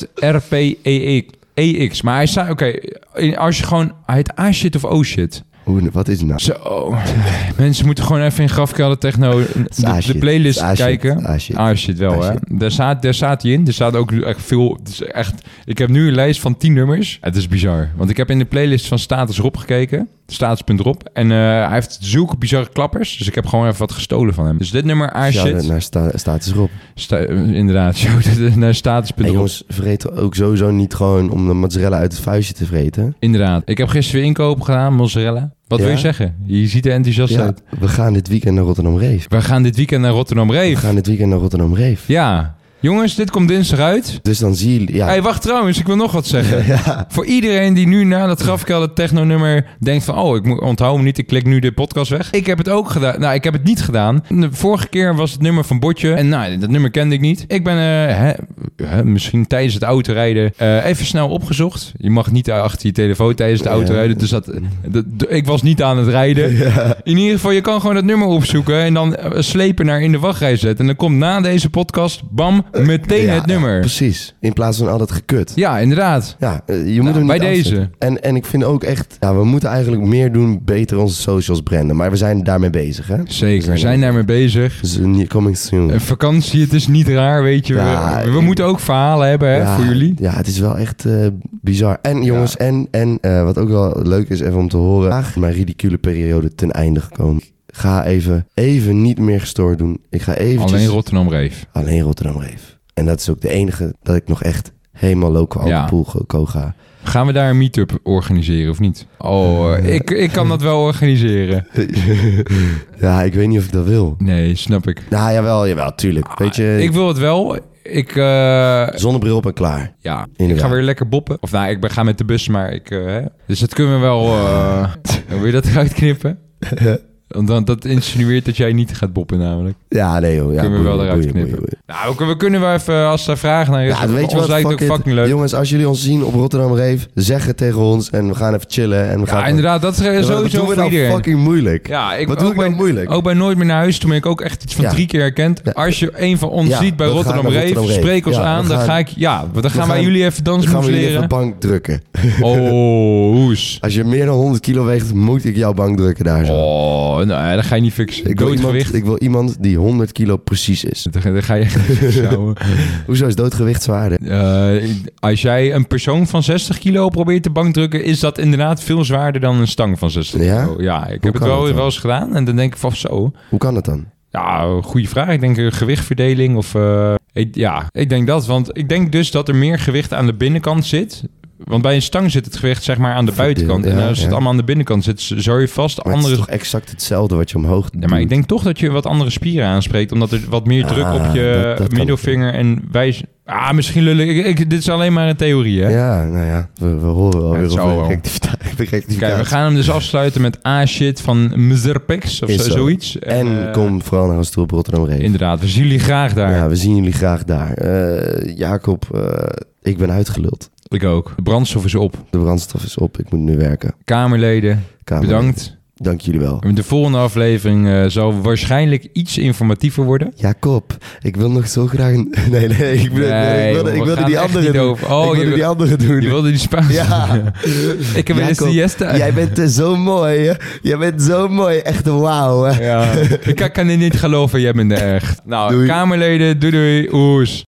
[SPEAKER 3] MZRPEX. EX. E Maar hij staat, oké, in- als je gewoon, hij heet A-shit of O-shit.
[SPEAKER 1] Hoe, wat is het nou?
[SPEAKER 3] Zo, mensen moeten gewoon even in Grafkelder Techno de,
[SPEAKER 1] A-shit.
[SPEAKER 3] de playlist
[SPEAKER 1] Het is A-shit.
[SPEAKER 3] kijken.
[SPEAKER 1] A-shit.
[SPEAKER 3] A-shit wel, hè.
[SPEAKER 1] A-shit.
[SPEAKER 3] Daar staat, daar staat hij in. Er staat ook echt veel... Het is echt, ik heb nu een lijst van 10 nummers. Het is bizar. Want ik heb in de playlist van Status Rob gekeken. Status.rob. En eh, hij heeft zulke bizarre klappers. Dus ik heb gewoon even wat gestolen van hem. Dus dit nummer,
[SPEAKER 1] Shout-out
[SPEAKER 3] A-shit.
[SPEAKER 1] naar sta status Rob.
[SPEAKER 3] sta- inderdaad, shout-out naar Status.rob.
[SPEAKER 1] Hey, jongens, vreet ook sowieso niet gewoon om de mozzarella uit het vuistje te vreten.
[SPEAKER 3] Inderdaad. Ik heb gisteren weer inkoop gedaan, mozzarella. Wat wil
[SPEAKER 1] Ja?
[SPEAKER 3] je zeggen? Je ziet er enthousiast
[SPEAKER 1] Ja,
[SPEAKER 3] uit.
[SPEAKER 1] we gaan dit weekend naar Rotterdam Reef.
[SPEAKER 3] We gaan dit weekend naar Rotterdam
[SPEAKER 1] We
[SPEAKER 3] Reef.
[SPEAKER 1] gaan dit weekend naar Rotterdam Reef.
[SPEAKER 3] Ja. Jongens, dit komt dinsdag uit.
[SPEAKER 1] Dus dan zie je... Ja,
[SPEAKER 3] Hé, hey, wacht trouwens, ik wil nog wat zeggen. Voor iedereen die nu na dat grafkelder techno-nummer denkt van... oh, ik moet, onthoud me niet, ik klik nu de podcast weg. Ik heb het ook gedaan. Nou, ik heb het niet gedaan. De vorige keer was het nummer van Botje. En nou, dat nummer kende ik niet. Ik ben eh, hè, hè, misschien tijdens het autorijden eh, even snel opgezocht. Je mag niet achter je telefoon tijdens het
[SPEAKER 1] Ja.
[SPEAKER 3] autorijden. Dus dat, dat- ik was niet aan het rijden. In ieder geval, je kan gewoon dat nummer opzoeken... en dan eh, slepen naar in de wachtrij zetten. En dan komt na deze podcast, bam, meteen
[SPEAKER 1] ja,
[SPEAKER 3] het nummer.
[SPEAKER 1] Precies. In plaats van al dat gekut.
[SPEAKER 3] Ja, inderdaad.
[SPEAKER 1] Ja, eh, je moet
[SPEAKER 3] Nou,
[SPEAKER 1] hem niet
[SPEAKER 3] bij
[SPEAKER 1] afzetten.
[SPEAKER 3] deze.
[SPEAKER 1] En, en ik vind ook echt, ja, we moeten eigenlijk meer doen, beter onze socials branden. Maar we zijn daarmee bezig, hè?
[SPEAKER 3] Zeker, we zijn Eh, daarmee bezig.
[SPEAKER 1] Dus een- coming soon.
[SPEAKER 3] Een vakantie, het is niet raar, weet je. We-
[SPEAKER 1] Ja,
[SPEAKER 3] we
[SPEAKER 1] ik-
[SPEAKER 3] moeten ook verhalen hebben hè,
[SPEAKER 1] ja,
[SPEAKER 3] voor jullie.
[SPEAKER 1] Ja, het is wel echt eh, bizar. En jongens, en, en eh, wat ook wel leuk is even om te horen. Vandaag is mijn ridicule periode ten einde gekomen. Ik Ga even, even niet meer gestoord doen. Ik ga eventjes...
[SPEAKER 3] Alleen Rotterdam Reef.
[SPEAKER 1] alleen Rotterdam Reef. En dat is ook de enige dat ik nog echt helemaal loco
[SPEAKER 3] Ja.
[SPEAKER 1] ja. pool go- go ga.
[SPEAKER 3] Gaan we daar een meet-up organiseren of niet? Oh, eh, ik, ik kan dat wel organiseren.
[SPEAKER 1] ja, ik weet niet of ik dat wil.
[SPEAKER 3] Nee, snap ik.
[SPEAKER 1] Nou, jawel, jawel, tuurlijk. Weet je,
[SPEAKER 3] Ah, Ik wil het wel. Ik, eh,
[SPEAKER 1] zonnebril op en klaar.
[SPEAKER 3] ja, ik
[SPEAKER 1] Inderdaad.
[SPEAKER 3] ga weer lekker boppen. Of nou, ik ben, ga met de bus, maar ik... eh, hè. dus dat kunnen we wel... eh, wil je dat eruit knippen? Want dan- dat insinueert dat jij niet gaat boppen namelijk.
[SPEAKER 1] Ja, nee joh. Ja,
[SPEAKER 3] kunnen we wel
[SPEAKER 1] boeien,
[SPEAKER 3] eruit
[SPEAKER 1] boeien,
[SPEAKER 3] knippen.
[SPEAKER 1] boeien,
[SPEAKER 3] Nou, we- we kunnen wel even, als er vragen naar is,
[SPEAKER 1] boeien. Ja, weet je
[SPEAKER 3] ons
[SPEAKER 1] wat?
[SPEAKER 3] lijkt
[SPEAKER 1] Fuck
[SPEAKER 3] het
[SPEAKER 1] it.
[SPEAKER 3] ook fucking leuk.
[SPEAKER 1] Jongens, als jullie ons zien op Rotterdam Reef, zeg het tegen ons en we gaan even chillen. En we gaan
[SPEAKER 3] Ja, inderdaad, dat is eh,
[SPEAKER 1] Wat
[SPEAKER 3] sowieso
[SPEAKER 1] doen we
[SPEAKER 3] voor
[SPEAKER 1] nou
[SPEAKER 3] iedereen.
[SPEAKER 1] fucking moeilijk?
[SPEAKER 3] Ja, ik,
[SPEAKER 1] Wat doe
[SPEAKER 3] ook Oh,
[SPEAKER 1] ik nou
[SPEAKER 3] bij-
[SPEAKER 1] moeilijk?
[SPEAKER 3] Ook bij Nooit meer naar huis, toen ben ik ook echt iets van
[SPEAKER 1] Ja.
[SPEAKER 3] drie keer herkend. Als je een van ons
[SPEAKER 1] Ja,
[SPEAKER 3] ziet bij
[SPEAKER 1] we gaan
[SPEAKER 3] Rotterdam
[SPEAKER 1] naar
[SPEAKER 3] Reef,
[SPEAKER 1] Rotterdam Reef.
[SPEAKER 3] spreek ons
[SPEAKER 1] Ja, we
[SPEAKER 3] aan. Dan
[SPEAKER 1] gaan-
[SPEAKER 3] ga ik, ja, want dan gaan, wij
[SPEAKER 1] gaan-
[SPEAKER 3] jullie even
[SPEAKER 1] Dan gaan
[SPEAKER 3] dansmoves
[SPEAKER 1] we jullie even
[SPEAKER 3] leren.
[SPEAKER 1] bank drukken.
[SPEAKER 3] Oh, hoes.
[SPEAKER 1] Als je meer dan 100 kilo weegt, moet ik jouw bank drukken daar zo.
[SPEAKER 3] Oh, nou, dat ga je niet fixen.
[SPEAKER 1] ik, wil
[SPEAKER 3] Doodgewicht.
[SPEAKER 1] iemand, ik wil iemand die 100 kilo precies is.
[SPEAKER 3] Dan ga- Dan ga je echt niet fixen, ouwe.
[SPEAKER 1] Hoezo is doodgewicht zwaarder?
[SPEAKER 3] Eh, Als jij een persoon van 60 kilo probeert te bankdrukken, is dat inderdaad veel zwaarder dan een stang van 60
[SPEAKER 1] Ja?
[SPEAKER 3] kilo. Ja, ik heb het
[SPEAKER 1] kan
[SPEAKER 3] wel,
[SPEAKER 1] dat dan?
[SPEAKER 3] wel eens gedaan en dan denk ik van zo.
[SPEAKER 1] Hoe kan dat dan?
[SPEAKER 3] Ja, goede vraag. Ik denk eh, gewichtverdeling of... eh, ik- ja, ik denk dat. Want ik denk dus dat er meer gewicht aan de binnenkant zit. Want bij een stang zit het gewicht zeg maar aan de
[SPEAKER 1] Verdeeld,
[SPEAKER 3] buitenkant. en
[SPEAKER 1] ja,
[SPEAKER 3] als het
[SPEAKER 1] ja.
[SPEAKER 3] allemaal aan de binnenkant zit, z- zou je vast
[SPEAKER 1] Maar
[SPEAKER 3] andere...
[SPEAKER 1] het is toch exact hetzelfde wat je omhoog
[SPEAKER 3] Ja, maar ik denk toch dat je wat andere spieren aanspreekt. Omdat er wat meer druk op je
[SPEAKER 1] Ah, dat- dat kan
[SPEAKER 3] middelvinger en wijs... Ah, misschien lullen. Ik, ik- dit is alleen maar een theorie, hè?
[SPEAKER 1] Ja, nou ja, we, we horen wel
[SPEAKER 3] Ja, het
[SPEAKER 1] weer
[SPEAKER 3] zou
[SPEAKER 1] op
[SPEAKER 3] wel.
[SPEAKER 1] een rectificatie.
[SPEAKER 3] Kijk, we gaan hem dus afsluiten met A-shit van Mzerpex of
[SPEAKER 1] Is
[SPEAKER 3] zo-
[SPEAKER 1] zo.
[SPEAKER 3] zoiets.
[SPEAKER 1] En
[SPEAKER 3] eh,
[SPEAKER 1] kom vooral naar ons toe op Rotterdam Reef.
[SPEAKER 3] Inderdaad, we zien jullie graag daar.
[SPEAKER 1] Ja, we zien jullie graag daar. Eh, Jacob, eh, ik ben uitgeluld.
[SPEAKER 3] Ik ook. De brandstof is op.
[SPEAKER 1] De brandstof is op, ik moet nu werken.
[SPEAKER 3] Kamerleden,
[SPEAKER 1] Kamer,
[SPEAKER 3] bedankt.
[SPEAKER 1] Dank jullie wel.
[SPEAKER 3] De volgende aflevering eh, zal waarschijnlijk iets informatiever worden.
[SPEAKER 1] Jacob, ik wil nog zo graag... een- Nee, nee, ik, bedoel- nee, ik wilde,
[SPEAKER 3] joh,
[SPEAKER 1] ik
[SPEAKER 3] we
[SPEAKER 1] wilde
[SPEAKER 3] gaan
[SPEAKER 1] die
[SPEAKER 3] echt
[SPEAKER 1] andere
[SPEAKER 3] niet
[SPEAKER 1] doen.
[SPEAKER 3] over. Oh,
[SPEAKER 1] ik
[SPEAKER 3] je,
[SPEAKER 1] wilde die
[SPEAKER 3] wil-
[SPEAKER 1] andere doen.
[SPEAKER 3] je wilde die Spaanse.
[SPEAKER 1] Ja.
[SPEAKER 3] Ik heb weer een
[SPEAKER 1] Jacob,
[SPEAKER 3] siesta.
[SPEAKER 1] Jij bent eh, zo mooi, hè? Jij bent zo mooi. Echt wauw, hè?
[SPEAKER 3] Ja. Ik kan, kan dit niet geloven, jij bent er echt. Nou,
[SPEAKER 1] Doei.
[SPEAKER 3] Kamerleden, doei doei, oes.